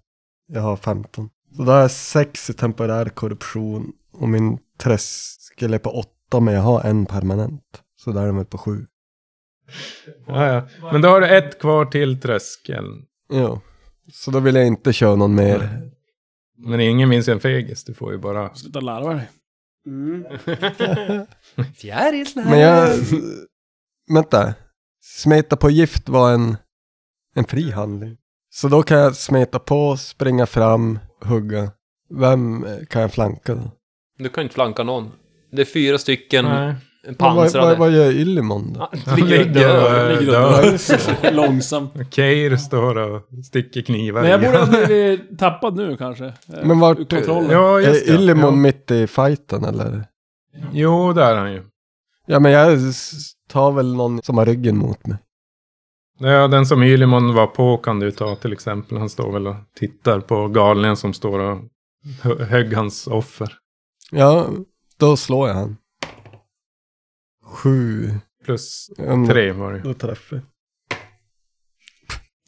Speaker 6: Jag har 15. Så då har jag 6 i temporär korruption. Och min tröskel är på 8, men jag har en permanent. Så där är de på 7.
Speaker 3: Ja, ja. Men då har du ett kvar till tröskeln.
Speaker 6: Jo. Så då vill jag inte köra någon mer.
Speaker 3: Men ingen minns ju en fegis. Du får ju bara...
Speaker 9: Sluta larva dig.
Speaker 4: Mm.
Speaker 5: Fjärilar!
Speaker 6: Men jag... Vänta. Smeta på gift var en, en fri handling. Så då kan jag smeta på, springa fram, hugga. Vem eh, kan jag flanka då?
Speaker 5: Du kan inte flanka någon. Det är fyra stycken
Speaker 3: Nej.
Speaker 6: Men Vad,
Speaker 5: pansrade.
Speaker 6: vad, vad gör Ylimon då?
Speaker 5: Han
Speaker 3: Han
Speaker 5: ligger och dör.
Speaker 3: ligger och
Speaker 9: dör.
Speaker 3: dör.
Speaker 4: Långsamt.
Speaker 3: Keir står och sticker knivar
Speaker 9: Men jag
Speaker 3: i
Speaker 9: borde ha
Speaker 3: honom.
Speaker 9: blivit tappad nu kanske. Eh,
Speaker 6: Men vart-
Speaker 9: ur Kontrollen.
Speaker 3: Ja, just
Speaker 6: Är
Speaker 3: det.
Speaker 6: Ylimon
Speaker 3: Jo.
Speaker 6: mitt i fighten eller?
Speaker 3: Jo, där är han ju.
Speaker 6: Ja men jag s- tar väl någon som har ryggen mot mig.
Speaker 3: Ja, den som Ylimon var på kan du ta till exempel. Han står väl och tittar på galningen som står och hö- högg hans offer.
Speaker 6: Ja, då slår jag han. Sju.
Speaker 3: Plus
Speaker 6: Om-
Speaker 3: tre
Speaker 9: Mm.
Speaker 3: var det ju.
Speaker 6: Då träffar jag.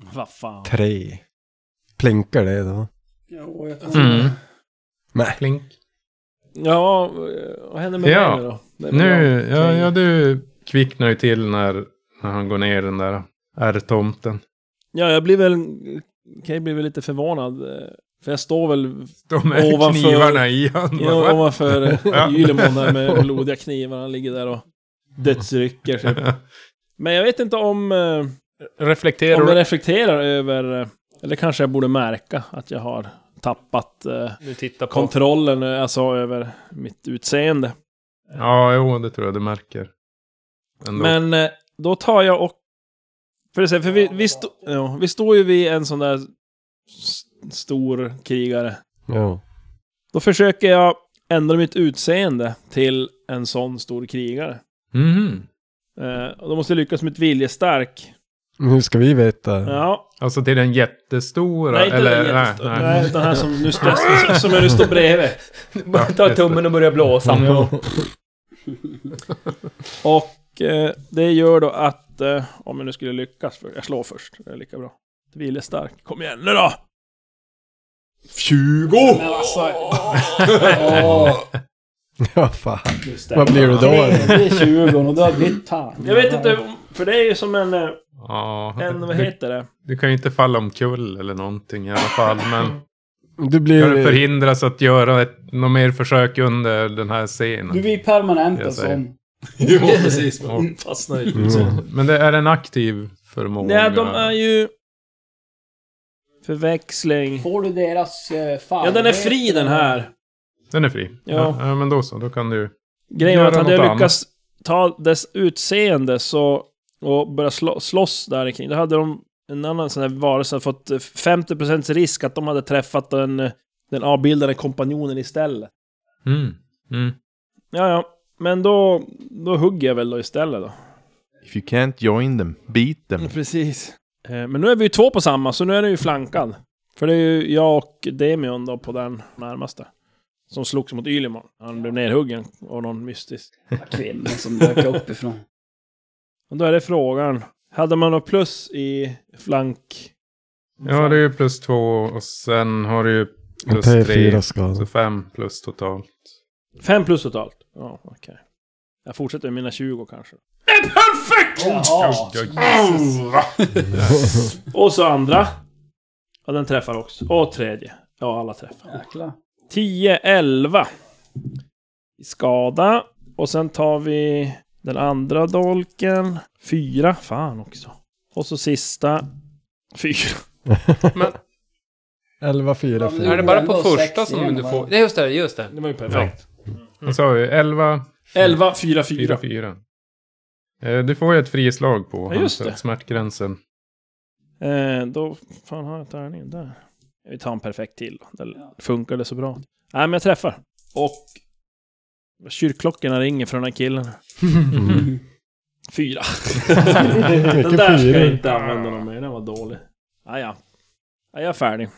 Speaker 9: Eh, Vad fan.
Speaker 6: Tre. Plinkar det då?
Speaker 4: Ja, jag tror-
Speaker 3: Mm.
Speaker 6: Nej.
Speaker 3: Klink.
Speaker 9: Ja, eh, vad händer med
Speaker 3: Ja.
Speaker 9: mig nu då? Det är väl
Speaker 3: Nu,
Speaker 9: jag.
Speaker 3: ja,
Speaker 9: Okej.
Speaker 3: ja du kvicknar ju till när, när han går ner den där R-tomten.
Speaker 9: Ja, jag blir väl... Kay blir väl lite förvånad. eh, För jag står
Speaker 3: Mm,
Speaker 9: väl
Speaker 3: De är
Speaker 9: Ovanför-
Speaker 3: knivarna i han.
Speaker 9: ja, ovanför eh,
Speaker 3: Ja.
Speaker 9: Ylemon där med blodiga knivar. Han ligger där och dödsrycker sig. Men jag vet inte om, eh, om jag
Speaker 5: Reflekterar
Speaker 9: reflekterar över... eh, Eller kanske jag borde märka att jag har tappat eh,
Speaker 5: du tittar på.
Speaker 9: kontrollen, eh, alltså över mitt utseende.
Speaker 3: ja, jo, det tror jag du märker. Ändå.
Speaker 9: Men eh, då tar jag och... För, det, är så här, för vi, vi, sto, ja, vi står ju vid en sån där s- stor krigare.
Speaker 6: Ja.
Speaker 9: Då försöker jag ändra mitt utseende till en sån stor krigare.
Speaker 3: Mhm.
Speaker 9: Eh, och då måste jag lyckas med ett viljestark.
Speaker 6: Men hur ska vi veta?
Speaker 9: Ja,
Speaker 3: Alltså till den jättestora?
Speaker 9: nej inte
Speaker 3: eller,
Speaker 9: den jättestora.
Speaker 3: Nej,
Speaker 9: Nej,
Speaker 3: nej.
Speaker 9: den här som nu, står- som jag nu står bredvid. Mm.
Speaker 5: Bara ta tummen och börja blåsa.
Speaker 9: Och eh, det gör då att, eh, om jag nu skulle lyckas, för jag slår först, det är lika bra. Viljestark, kom igen nu då!
Speaker 10: 20!
Speaker 4: Men alltså,
Speaker 6: ja, fan.
Speaker 4: just det.
Speaker 6: Vad blir det då?
Speaker 4: Det är 20 och du har blivit tan.
Speaker 9: Jag vet inte, om- för det är ju som en, eh,
Speaker 3: Ja,
Speaker 9: en vad
Speaker 3: du,
Speaker 9: heter det?
Speaker 3: du kan ju inte falla omkull eller någonting i alla fall. Men
Speaker 6: Du
Speaker 3: kan du
Speaker 6: blir...
Speaker 3: förhindras att göra ett, något mer försök under den här
Speaker 4: Du
Speaker 3: scenen?
Speaker 4: blir permanent
Speaker 3: Jag
Speaker 4: en
Speaker 3: säger.
Speaker 4: sån. Ja, precis.
Speaker 3: man
Speaker 4: Fastnar i
Speaker 6: Mm.
Speaker 3: Men det är en aktiv förmåga?
Speaker 9: Nej, de är ju... Förväxling.
Speaker 4: Får du deras eh, fan?
Speaker 9: Ja, den är fri den här.
Speaker 3: Den är fri?
Speaker 9: Ja.
Speaker 3: ja. men då så, då kan du...
Speaker 9: Grejen var
Speaker 3: Göra
Speaker 9: att hade jag
Speaker 3: något
Speaker 9: lyckats ta dess utseende så och börjar slå, slåss där kring. Då hade de en annan sån här varelse fått eh, 50% risk att de hade träffat den, eh, den avbildade kompanjonen istället.
Speaker 3: Mm. Mm.
Speaker 9: Ja, ja. Men då, då hugger jag väl då istället då.
Speaker 7: If you can't join them, beat them.
Speaker 9: Precis. Eh, Men nu är vi ju två på samma, så nu är den ju flankad. För det är ju jag och Demion då på den närmaste. Som slogs mot Ylimon. Han blev nerhuggen av någon mystisk.
Speaker 4: Kvinna som dök uppifrån.
Speaker 9: Och då är det frågan. Hade man något plus i flank?
Speaker 3: Ja, det är ju plus två och sen har du ju plus tre.
Speaker 6: T4
Speaker 3: Så
Speaker 6: skada.
Speaker 3: fem plus totalt.
Speaker 9: Fem plus totalt. Ja, okej. Jag fortsätter med mina 20 kanske. Och så andra. Och den träffar också. Och tredje. Ja, alla träffar.
Speaker 4: Jäklar.
Speaker 9: 10, 11. I skada. Och sen tar vi den andra dolken. Fyra. Fan också. Och så sista. Fyra.
Speaker 5: Men
Speaker 6: 11, 4,
Speaker 4: Ja, men
Speaker 6: 4.
Speaker 5: är det bara på
Speaker 4: Ändå
Speaker 5: första
Speaker 4: sex
Speaker 5: som
Speaker 4: igen,
Speaker 5: du
Speaker 4: va?
Speaker 5: får... Nej, just det, just det.
Speaker 9: Det var ju perfekt. Mm.
Speaker 3: Vad sa vi? 11,
Speaker 9: 11, 4, 4.
Speaker 3: 4, 4. Eh, Du får ju ett frislag på
Speaker 9: Ja, just
Speaker 3: Hansel,
Speaker 9: det.
Speaker 3: smärtgränsen.
Speaker 9: Eh, då fan har jag tärningen där. Vi tar en perfekt till då. Det funkar det så bra. Nej, men jag träffar. Och kyrkklockorna ringer från den här killen. Fyra. den
Speaker 6: Mycket
Speaker 9: där ska jag
Speaker 6: fyror.
Speaker 9: inte använda någon mer. Den var dålig. Ah, ja. Ah, jag är färdig.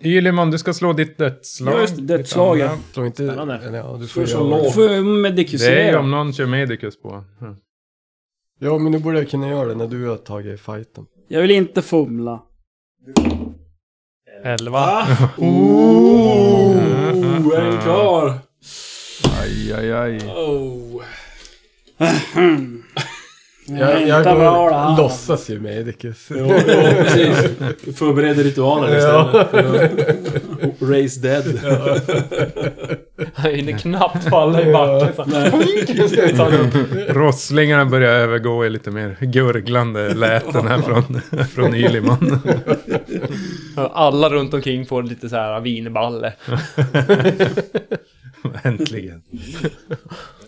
Speaker 3: Yliman, du ska slå ditt dödsslag.
Speaker 4: Ja, just det, dödsslaget.
Speaker 3: Ditt andra.
Speaker 6: Tror inte...
Speaker 9: Spännande.
Speaker 6: Eller, ja, du
Speaker 4: Du
Speaker 6: får göra det.
Speaker 4: får ju
Speaker 3: Det är ju om
Speaker 4: medikusera.
Speaker 3: någon kör medicus på. Mm.
Speaker 6: Ja, men nu borde jag kunna göra det när du har tagit fighten.
Speaker 4: Jag vill inte fumla.
Speaker 5: Elva.
Speaker 4: Oh, är den klar?
Speaker 7: Aj, aj, aj.
Speaker 4: Oh. Mm,
Speaker 6: Jag, jag går, låtsas ju medicus.
Speaker 4: precis.
Speaker 11: Du förbereder ritualen
Speaker 6: Ja.
Speaker 11: istället. för att- Raise dead.
Speaker 5: Han hinner knappt falla i backen. så här. Så han upp.
Speaker 3: Rosslingarna börjar övergå i lite mer gurglande läten här från, från Yliman.
Speaker 5: Alla runt omkring får lite så här wienerballe.
Speaker 3: Äntligen.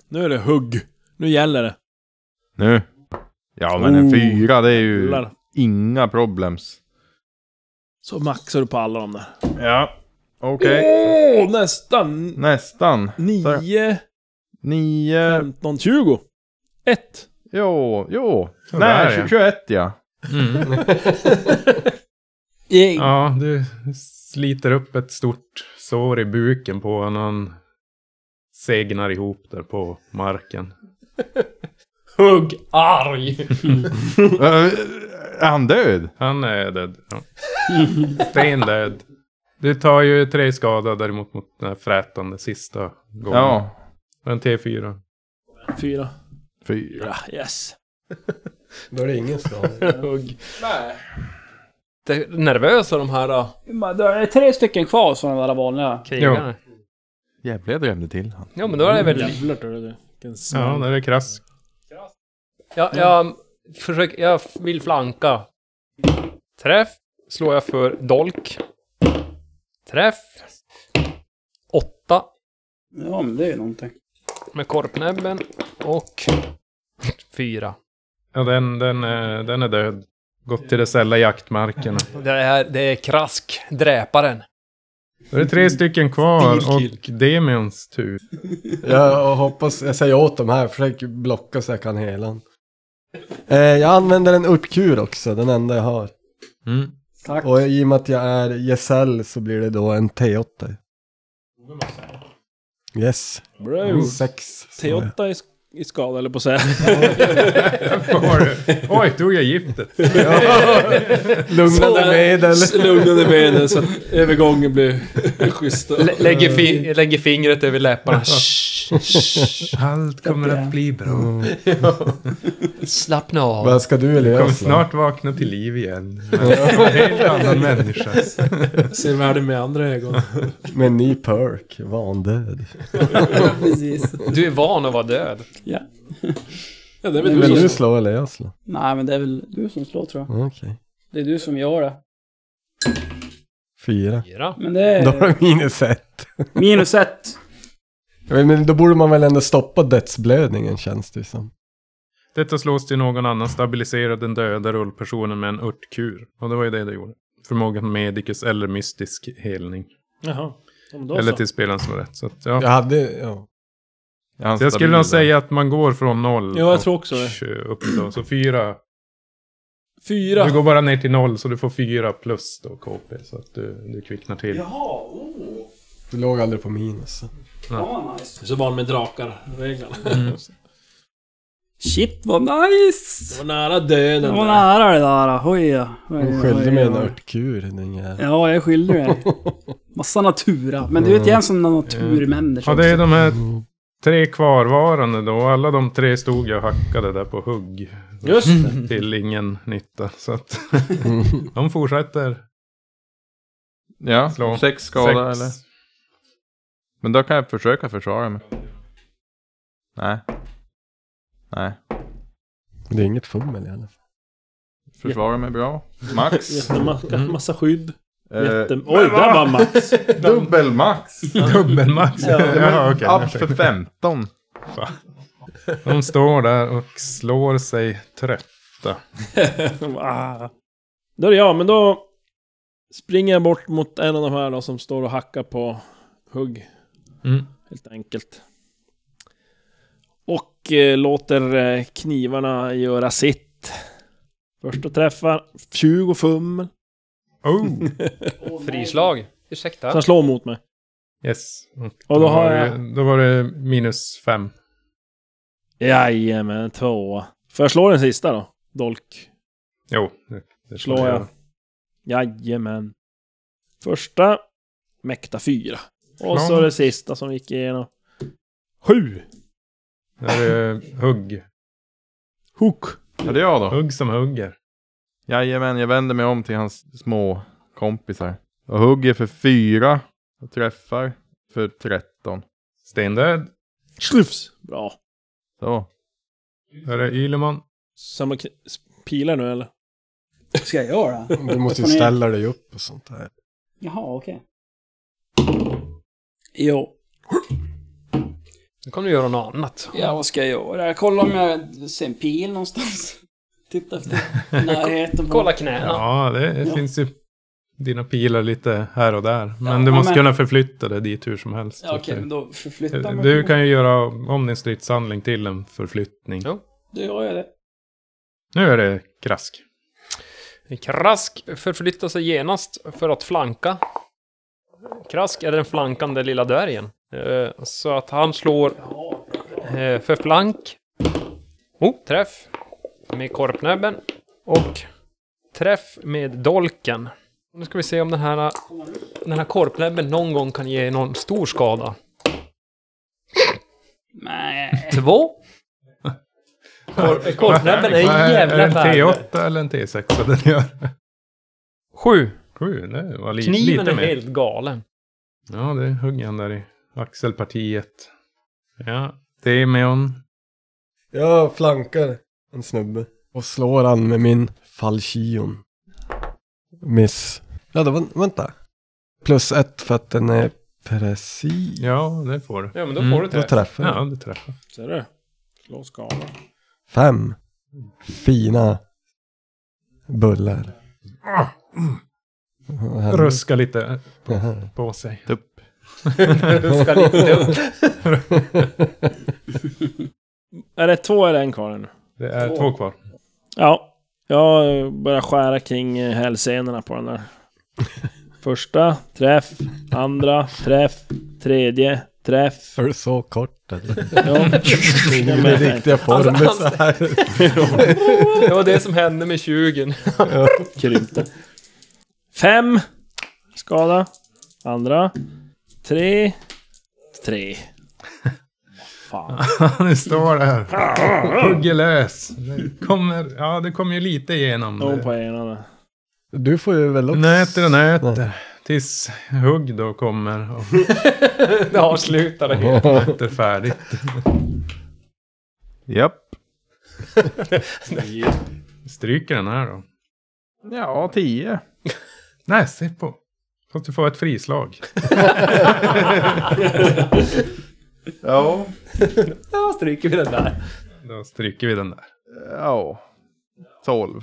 Speaker 9: Nu är det hugg. Nu gäller det.
Speaker 7: Nu. Ja, men en fyra, det är ju
Speaker 9: Jävlar.
Speaker 7: inga problems.
Speaker 9: Så maxar du på alla de där.
Speaker 7: Ja, okej.
Speaker 9: Åh, nästan!
Speaker 7: Nästan. Så-
Speaker 9: 9,
Speaker 7: Nio.
Speaker 9: 15, 20. 1.
Speaker 7: Jo, jo.
Speaker 3: Så där,
Speaker 7: Nej,
Speaker 3: ja.
Speaker 7: 21 ja.
Speaker 3: Ja, du sliter upp ett stort sår i buken på honom. Han segnar ihop där på marken.
Speaker 5: Hugg arg.
Speaker 7: Eh, Är han död?
Speaker 3: Han är död. Ja. Stendöd. Du tar ju tre skada däremot mot den här frätande sista gången.
Speaker 7: Ja.
Speaker 3: En T4.
Speaker 9: 4.
Speaker 7: Fyra.
Speaker 9: Yes.
Speaker 6: Då är det ingen skada.
Speaker 5: Hugg. Det är nervösa de här äh,
Speaker 4: Det är tre stycken kvar sådana där vanliga.
Speaker 5: krigarna.
Speaker 7: Jävlar, jag drömde till han.
Speaker 5: Ja, men då är det väl...
Speaker 3: Mm.
Speaker 9: Jävlar tror jag det. Vilken smäll.
Speaker 3: Ja, där är krask.
Speaker 5: Jag, jag, försöker, jag vill flanka. Träff slår jag för dolk. Träff. Åtta
Speaker 4: Ja, men det är ju någonting.
Speaker 5: med korpnäbben och fyra.
Speaker 3: Ja, den, den, är, den är död. Gått till de sälla jaktmarkerna.
Speaker 5: Det är, det är krask, dräparen.
Speaker 3: Då är det tre stycken kvar och Demions tur.
Speaker 6: Jag hoppas, jag säger åt dem här, försök blocka så jag kan hela den. eh, Jag använder en uppkur också, den enda jag har.
Speaker 3: Mm.
Speaker 4: Tack.
Speaker 6: Och i och med att jag är gesell så blir det då en T8. Yes,
Speaker 9: Bro.
Speaker 6: sex. sa jag.
Speaker 9: T8 i, sk- i skada, eller på att säga.
Speaker 3: Vad har du? Oj, tog jag giftet?
Speaker 6: Lugnande medel.
Speaker 11: Lugnande medel så att övergången blir schysst.
Speaker 5: Lä- Lägger, fi,
Speaker 3: Mm.
Speaker 5: lägger fingret över läpparna. Shh, shh.
Speaker 3: Allt kommer att bli bra.
Speaker 5: Slappna av.
Speaker 6: Vad ska du eller
Speaker 3: Kommer
Speaker 6: jag slå?
Speaker 3: snart vakna till liv igen. En helt annan människa.
Speaker 11: Ser världen med andra ögon.
Speaker 6: Med en ny perk, vandöd.
Speaker 4: Precis.
Speaker 5: Du är van att vara död.
Speaker 11: Ja, det är väl
Speaker 6: Vill
Speaker 11: du
Speaker 6: du
Speaker 11: som...
Speaker 6: slå eller jag slå?
Speaker 4: Nej, men det är väl du som slår tror jag.
Speaker 6: Okej.
Speaker 4: Det är du som gör det.
Speaker 6: Fyra.
Speaker 5: Fyra.
Speaker 4: Men det är...
Speaker 6: Då har du minus ett.
Speaker 4: Minus ett.
Speaker 6: Jag vet, Men då borde man väl ändå stoppa dödsblödningen känns det ju som.
Speaker 3: Detta slås till någon annan stabiliserar den döda rullpersonen med en örtkur. Och det var ju det det gjorde. Förmågan medicus eller mystisk helning.
Speaker 9: Jaha. Ja, men då
Speaker 3: Eller
Speaker 9: så.
Speaker 3: till spelaren som är rätt. Så att, ja.
Speaker 10: Jag hade, ja.
Speaker 3: Så jag skulle nog säga att man går från noll
Speaker 9: Ja, jag tror också
Speaker 3: och eh, upp då. Så fyra.
Speaker 9: Fyra.
Speaker 3: Du går bara ner till noll så du får fyra plus då KP. Så att du, du kvicknar till.
Speaker 4: Jaha, oh.
Speaker 6: Du låg aldrig på minus.
Speaker 4: Ja, nice.
Speaker 11: Så van med drakar-reglerna.
Speaker 4: Shit vad nice!
Speaker 11: Det var nära döden.
Speaker 4: Det
Speaker 11: där.
Speaker 4: var nära det där. Oj, ja. Oj,
Speaker 6: Hon
Speaker 4: oj,
Speaker 6: skällde
Speaker 4: oj,
Speaker 6: med en
Speaker 4: oj.
Speaker 6: örtkur. Den jäveln.
Speaker 4: Ja, jag skyller dig. Massa natura. Men du vet, jag är en sån där naturmänniska.
Speaker 3: Ja, det är de här tre kvarvarande då. Alla de tre stod jag och hackade där på hugg.
Speaker 11: Just det.
Speaker 3: Till ingen nytta. Så att de fortsätter
Speaker 7: Ja,
Speaker 3: Slå.
Speaker 7: sex skada
Speaker 3: Sex.
Speaker 7: eller? Men då kan jag försöka försvara mig. Nej. Nej.
Speaker 6: Det är inget fummel i alla fall.
Speaker 7: Försvara mig bra. Max.
Speaker 9: Jättemacka, massa skydd.
Speaker 7: Eh,
Speaker 9: Jätte... Oj, där var Max.
Speaker 7: Dubbel max.
Speaker 3: dubbelmax. Ja, okej.
Speaker 7: Upp för 15.
Speaker 3: De står där och slår sig trött.
Speaker 9: Ah. Då är det jag, men då springer jag bort mot en av de här då som står och hackar på hugg.
Speaker 3: Mm.
Speaker 9: Helt enkelt. Och eh, låter eh, knivarna göra sitt. Första träffar, 20 fum.
Speaker 3: Oh,
Speaker 5: Frislag. Ursäkta.
Speaker 9: Sen slår mot mig.
Speaker 3: yes.
Speaker 9: Och då har
Speaker 3: var
Speaker 9: jag...
Speaker 3: det, då var det minus fem.
Speaker 9: Jajamän, två. Får jag slå den sista då? Dolk.
Speaker 3: Jo. Det, det får
Speaker 9: Slår jag. Jajamän. Första. Mäkta fyra. Och så
Speaker 3: Ja.
Speaker 9: det sista som gick igenom. Sju.
Speaker 3: Det är eh, hugg.
Speaker 9: Hook.
Speaker 7: Är det jag då?
Speaker 3: Hugg som hugger.
Speaker 7: Jajamän, jag vänder mig om till hans små kompisar. Och hugger för 4. Och träffar för 13.
Speaker 3: Stendöd.
Speaker 9: Slufs. Bra.
Speaker 7: Så.
Speaker 3: Där är Yleman.
Speaker 9: Samma kn- s- pilar nu eller?
Speaker 4: Ska jag göra? det?
Speaker 6: Du måste ju
Speaker 4: Får ni-
Speaker 6: ställa dig upp och sånt där.
Speaker 4: Jaha, okej. Jo.
Speaker 5: Nu kommer du göra något annat.
Speaker 4: Ja, vad ska jag göra? Jag kollar om jag ser en pil någonstans. Titta efter närheten. På.
Speaker 5: Kolla knäna.
Speaker 3: Ja, det, det
Speaker 4: Ja.
Speaker 3: finns ju dina pilar lite här och där. Men du
Speaker 4: ja,
Speaker 3: måste
Speaker 4: men-
Speaker 3: kunna förflytta dig dit hur som helst.
Speaker 4: Ja, okej, men då förflyttar man
Speaker 3: Eh, Du kan ju göra om din stridshandling till en förflyttning.
Speaker 5: Ja.
Speaker 4: Då gör jag det.
Speaker 3: Nu är det krask.
Speaker 5: Krask förflyttar sig genast för att flanka. Krask är den flankande lilla dvärgen. Eh, Så att han slår eh, för flank. Oh, träff med korpnäbben. Och träff med dolken. Nu ska vi se om den här, den här korpnäbben någon gång kan ge någon stor skada.
Speaker 4: Nej.
Speaker 5: Två. Kor- korpnäbben är
Speaker 3: Vad
Speaker 5: en
Speaker 3: Är det
Speaker 5: jävla
Speaker 3: en
Speaker 5: värde.
Speaker 3: T8 eller en T6 den gör?
Speaker 5: Sju.
Speaker 3: Sju, det var li
Speaker 5: Kniven
Speaker 3: lite
Speaker 5: är
Speaker 3: mer.
Speaker 5: helt galen.
Speaker 3: Ja, det högg han där i axelpartiet. Ja, Demeon.
Speaker 6: Jag flankar en snubbe. Och slår han med min falchion. Miss. Ja, då, vä- vänta. Plus ett för att den är precis.
Speaker 3: Ja, det får du.
Speaker 5: Ja, men då
Speaker 3: Mm.
Speaker 5: får du
Speaker 6: Då
Speaker 5: träff.
Speaker 6: träffar jag.
Speaker 3: Ja, du träffar.
Speaker 9: Ser du? Slå skala.
Speaker 6: Fem. Fina bullar. Ah. Och här-
Speaker 3: Ruska lite
Speaker 6: Jaha.
Speaker 3: på sig.
Speaker 7: Tupp.
Speaker 5: Ruska lite upp.
Speaker 9: Är det två eller en kvar nu?
Speaker 3: Det är två kvar.
Speaker 9: Ja. Jag börjar skära kring eh, hälsenorna på den där. Första träff. Andra träff. Tredje träff.
Speaker 6: Är du så kort eller?
Speaker 9: Ja.
Speaker 6: Ingen med riktiga former
Speaker 5: Alltså,
Speaker 6: så här.
Speaker 5: Det var det som hände med 20.
Speaker 9: Krympte. Fem. Skada. Andra. Tre. Tre. Fan.
Speaker 3: Nu står det här. Hugger lös. Det kommer, ja, det kommer ju lite igenom.
Speaker 9: Någon på ena där.
Speaker 6: Du får ju väl också...
Speaker 3: Nöter och nöter. Tills hugg då kommer och
Speaker 5: Det avslutade helt.
Speaker 3: nöter färdigt.
Speaker 7: Japp.
Speaker 3: Stryker den här då.
Speaker 7: Ja, 10.
Speaker 3: Nej, se på. Fast du får ett frislag.
Speaker 7: Ja.
Speaker 5: Ja, stryker vi den där.
Speaker 3: Då stryker vi den där.
Speaker 7: Ja, 12.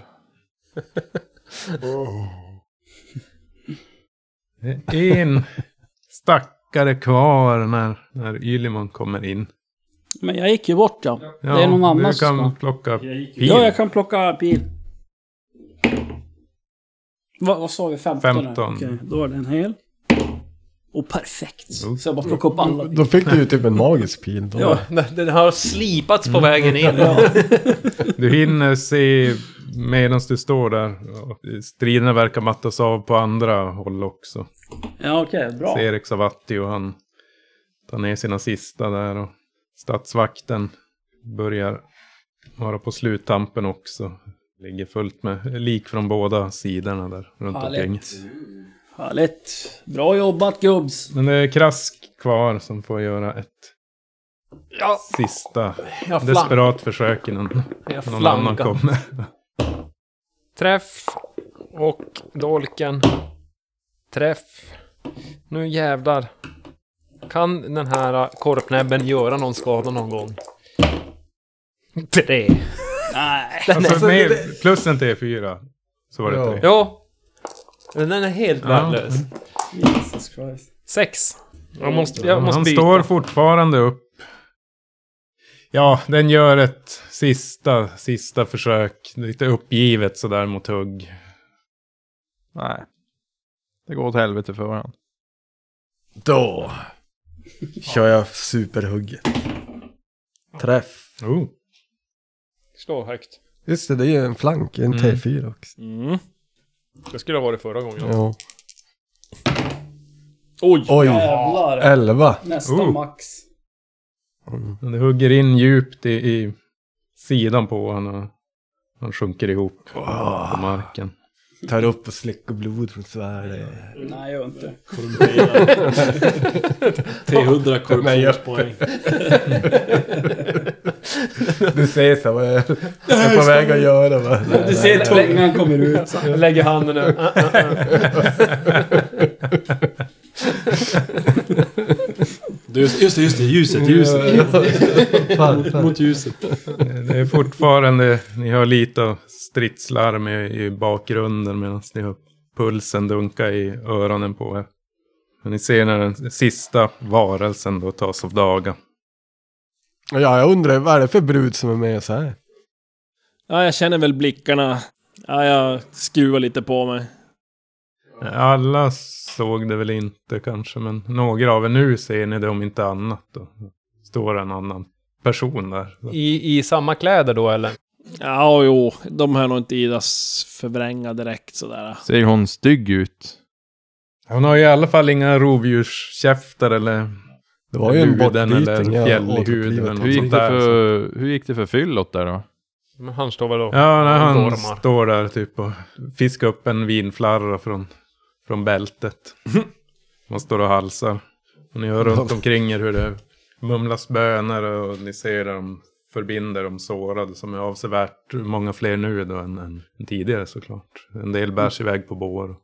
Speaker 3: Det är En stackare kvar när, när Yliman kommer in.
Speaker 4: Men jag gick ju bort ja.
Speaker 3: Ja,
Speaker 4: det är någon annan
Speaker 3: du
Speaker 4: som
Speaker 3: kan
Speaker 4: ska...
Speaker 3: plocka pil.
Speaker 4: Ja, jag kan plocka pil. Vad, vad sa vi? 15? här?
Speaker 3: 15.
Speaker 4: Okej, då var den hel. Och perfekt.
Speaker 3: Jo.
Speaker 4: Så jag bara plockade upp alla.
Speaker 6: Då fick du ju typ en magisk pil då.
Speaker 4: Ja.
Speaker 5: Den den har slipats på vägen in.
Speaker 3: Du hinner se medan du står där. Ja, Striderna verkar mattas av på andra håll också.
Speaker 4: Ja, okej. bra.
Speaker 3: Ser Xavatti och han tar ner sina sista där. Och statsvakten börjar vara på sluttampen också. Ligger fullt med lik från båda sidorna där runt
Speaker 4: Härligt.
Speaker 3: omkring.
Speaker 4: Härligt. Bra jobbat gubbs.
Speaker 3: Men det är Krask kvar som får göra ett
Speaker 5: Ja,
Speaker 3: sista
Speaker 5: jag flankar.
Speaker 3: desperat försök innan
Speaker 5: Jag
Speaker 3: någon annan
Speaker 5: flankar.
Speaker 3: kommer.
Speaker 5: Träff. Och dolken. Träff. Nu jävlar. Kan den här korpnäbben göra någon skada någon gång? Tre.
Speaker 4: Nej.
Speaker 3: Alltså, med, plus en T4 så var det
Speaker 6: Ja.
Speaker 3: tre.
Speaker 5: Ja. Den är helt värdelös.
Speaker 4: Jesus Christ.
Speaker 5: Sex. Jag måste, jag måste
Speaker 3: han
Speaker 5: byta.
Speaker 3: står fortfarande upp. Ja, den gör ett sista, sista försök. Lite uppgivet sådär mot hugg.
Speaker 7: Nej. Det går åt helvete för honom.
Speaker 6: Då kör jag superhugget. Träff.
Speaker 3: Oh.
Speaker 5: Slå högt.
Speaker 6: Just det, det är ju en flank, en
Speaker 3: Mm.
Speaker 6: T4 också.
Speaker 9: Mm.
Speaker 5: Det skulle ha varit förra gången.
Speaker 6: Ja.
Speaker 9: Oj!
Speaker 6: Oj,
Speaker 4: Jävlar.
Speaker 6: elva.
Speaker 4: Nästa
Speaker 3: Äh, Oh.
Speaker 4: max.
Speaker 6: Mm.
Speaker 3: Men Det hugger in djupt i, i sidan på honom. och Han sjunker ihop
Speaker 6: Ah.
Speaker 3: på marken.
Speaker 6: Tar upp och slickar blod från svärdet.
Speaker 4: Nej, jag gör inte.
Speaker 11: T100 korruptionspoäng.
Speaker 6: Du ser så här, vad jag jag är på väg att göra. Va?
Speaker 4: Du ser tungan kommer ut.
Speaker 5: Lägger handen nu.
Speaker 11: Du, Just det, just det. Ljuset, ljuset.
Speaker 6: Fan, fan.
Speaker 11: Mot ljuset.
Speaker 3: Eh, Det är fortfarande, ni hör lite av stridslarm i, i bakgrunden medan ni hör pulsen dunka i öronen på er. Men ni ser när den sista varelsen då tas av daga.
Speaker 6: Ja, jag undrar, vad är det för brud som är med så här?
Speaker 9: Ja, jag känner väl blickarna. Ja, jag skruvar lite på mig.
Speaker 3: Alla såg det väl inte kanske, men några av er nu ser ni det om inte annat. Då står en annan person där.
Speaker 5: I, I samma kläder då eller?
Speaker 9: Ja, jo. De hör nog inte Idas förvränga direkt sådär.
Speaker 7: Ser hon stygg ut?
Speaker 3: Hon har i alla fall inga rovdjurskäftar eller
Speaker 6: Det var ju en
Speaker 3: luden
Speaker 6: bortbyting.
Speaker 3: eller
Speaker 6: Jag
Speaker 3: fjällhud eller
Speaker 6: återupplivat.
Speaker 7: Hur
Speaker 3: något
Speaker 7: gick
Speaker 3: sånt
Speaker 7: det
Speaker 3: där. alltså.
Speaker 7: för, hur gick det för fyllot där då?
Speaker 5: Men han står väl och...
Speaker 3: Ja, när han
Speaker 5: Gormar.
Speaker 3: står där typ och fiskar upp en vinflarra från, från bältet. Man står och halsar. Och ni hör runt omkring er hur det mumlas böner och ni ser hur de förbinder de sårade som är avsevärt många fler nu då än, än tidigare såklart. En del bärs iväg på bår.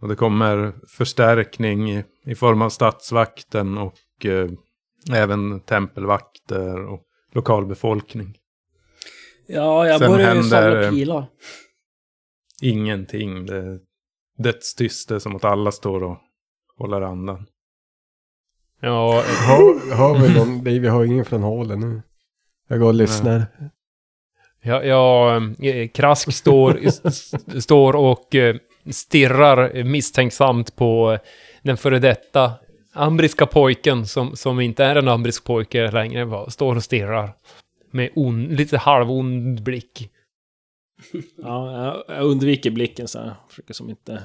Speaker 3: Och det kommer förstärkning i, i form av statsvakten och eh, även tempelvakter och lokalbefolkning.
Speaker 4: Ja, jag
Speaker 3: Sen
Speaker 4: börjar ju
Speaker 3: händer-
Speaker 4: samla pilar.
Speaker 3: ingenting. Det är dödstyst. Det är som att alla står och håller andan.
Speaker 5: Ja,
Speaker 6: Har, har vi någon? Nej, vi har ingen från hålen nu. Jag går och lyssnar.
Speaker 5: Ja, ja, eh, Krask står, s- s- står och eh, stirrar misstänksamt på eh, den före detta ambriska pojken som, som inte är en ambrisk pojke längre. va, Står och stirrar med on, lite halvond blick.
Speaker 9: Ja, jag, jag undviker blicken så här. Försöker som inte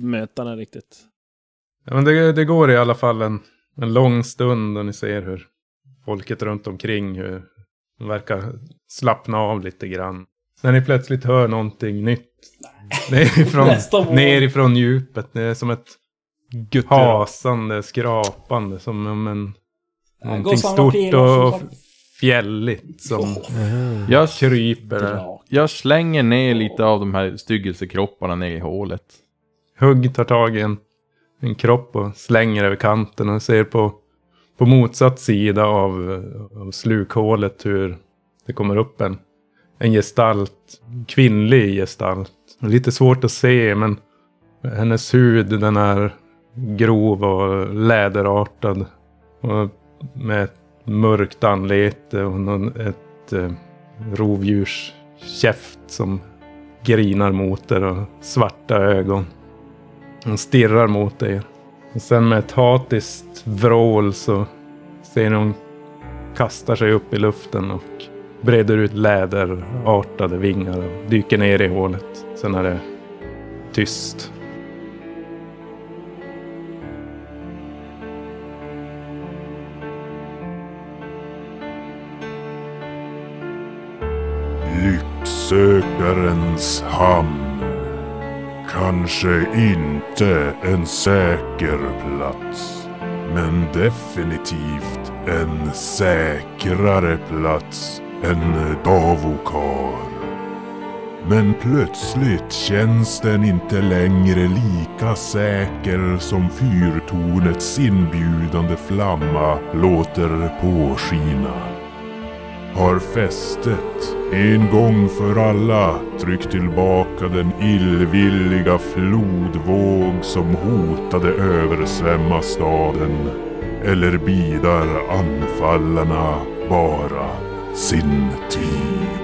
Speaker 9: möta den riktigt.
Speaker 3: Ja, men det, det går i alla fall en, en lång stund och ni ser hur folket runt omkring hur de verkar slappna av lite grann. När ni plötsligt hör någonting nytt. Nerifrån,
Speaker 4: Nästa mål.
Speaker 3: nerifrån djupet. Det är som ett hasande, skrapande. Som om en,
Speaker 4: gå
Speaker 3: någonting
Speaker 4: och samla
Speaker 3: stort
Speaker 4: pilar, som
Speaker 3: och
Speaker 4: sagt.
Speaker 3: fjälligt som
Speaker 7: Jag,
Speaker 3: kryper. där.
Speaker 7: jag slänger ner lite av de här styggelsekropparna ner i hålet.
Speaker 3: Hugg tar tag i en, en kropp och slänger över kanten och ser på, på motsatt sida av, av slukhålet hur det kommer upp en, en gestalt, kvinnlig gestalt. Lite svårt att se men hennes hud den är grov och läderartad. Och med ett mörkt anlete och någon, ett eh, rovdjurskäft som grinar mot er och svarta ögon. Hon stirrar mot er. Och sen med ett hatiskt vrål så ser ni hon kastar sig upp i luften och breder ut läderartade vingar och dyker ner i hålet. Sen är det tyst.
Speaker 2: Lycksökarens hamn. Kanske inte en säker plats. Men definitivt en säkrare plats än Davokar. Men plötsligt känns den inte längre lika säker som fyrtornets inbjudande flamma låter påskina har fästet en gång för alla tryckt tillbaka den illvilliga flodvåg som hotade översvämma staden. Eller bidar anfallarna bara sin tid?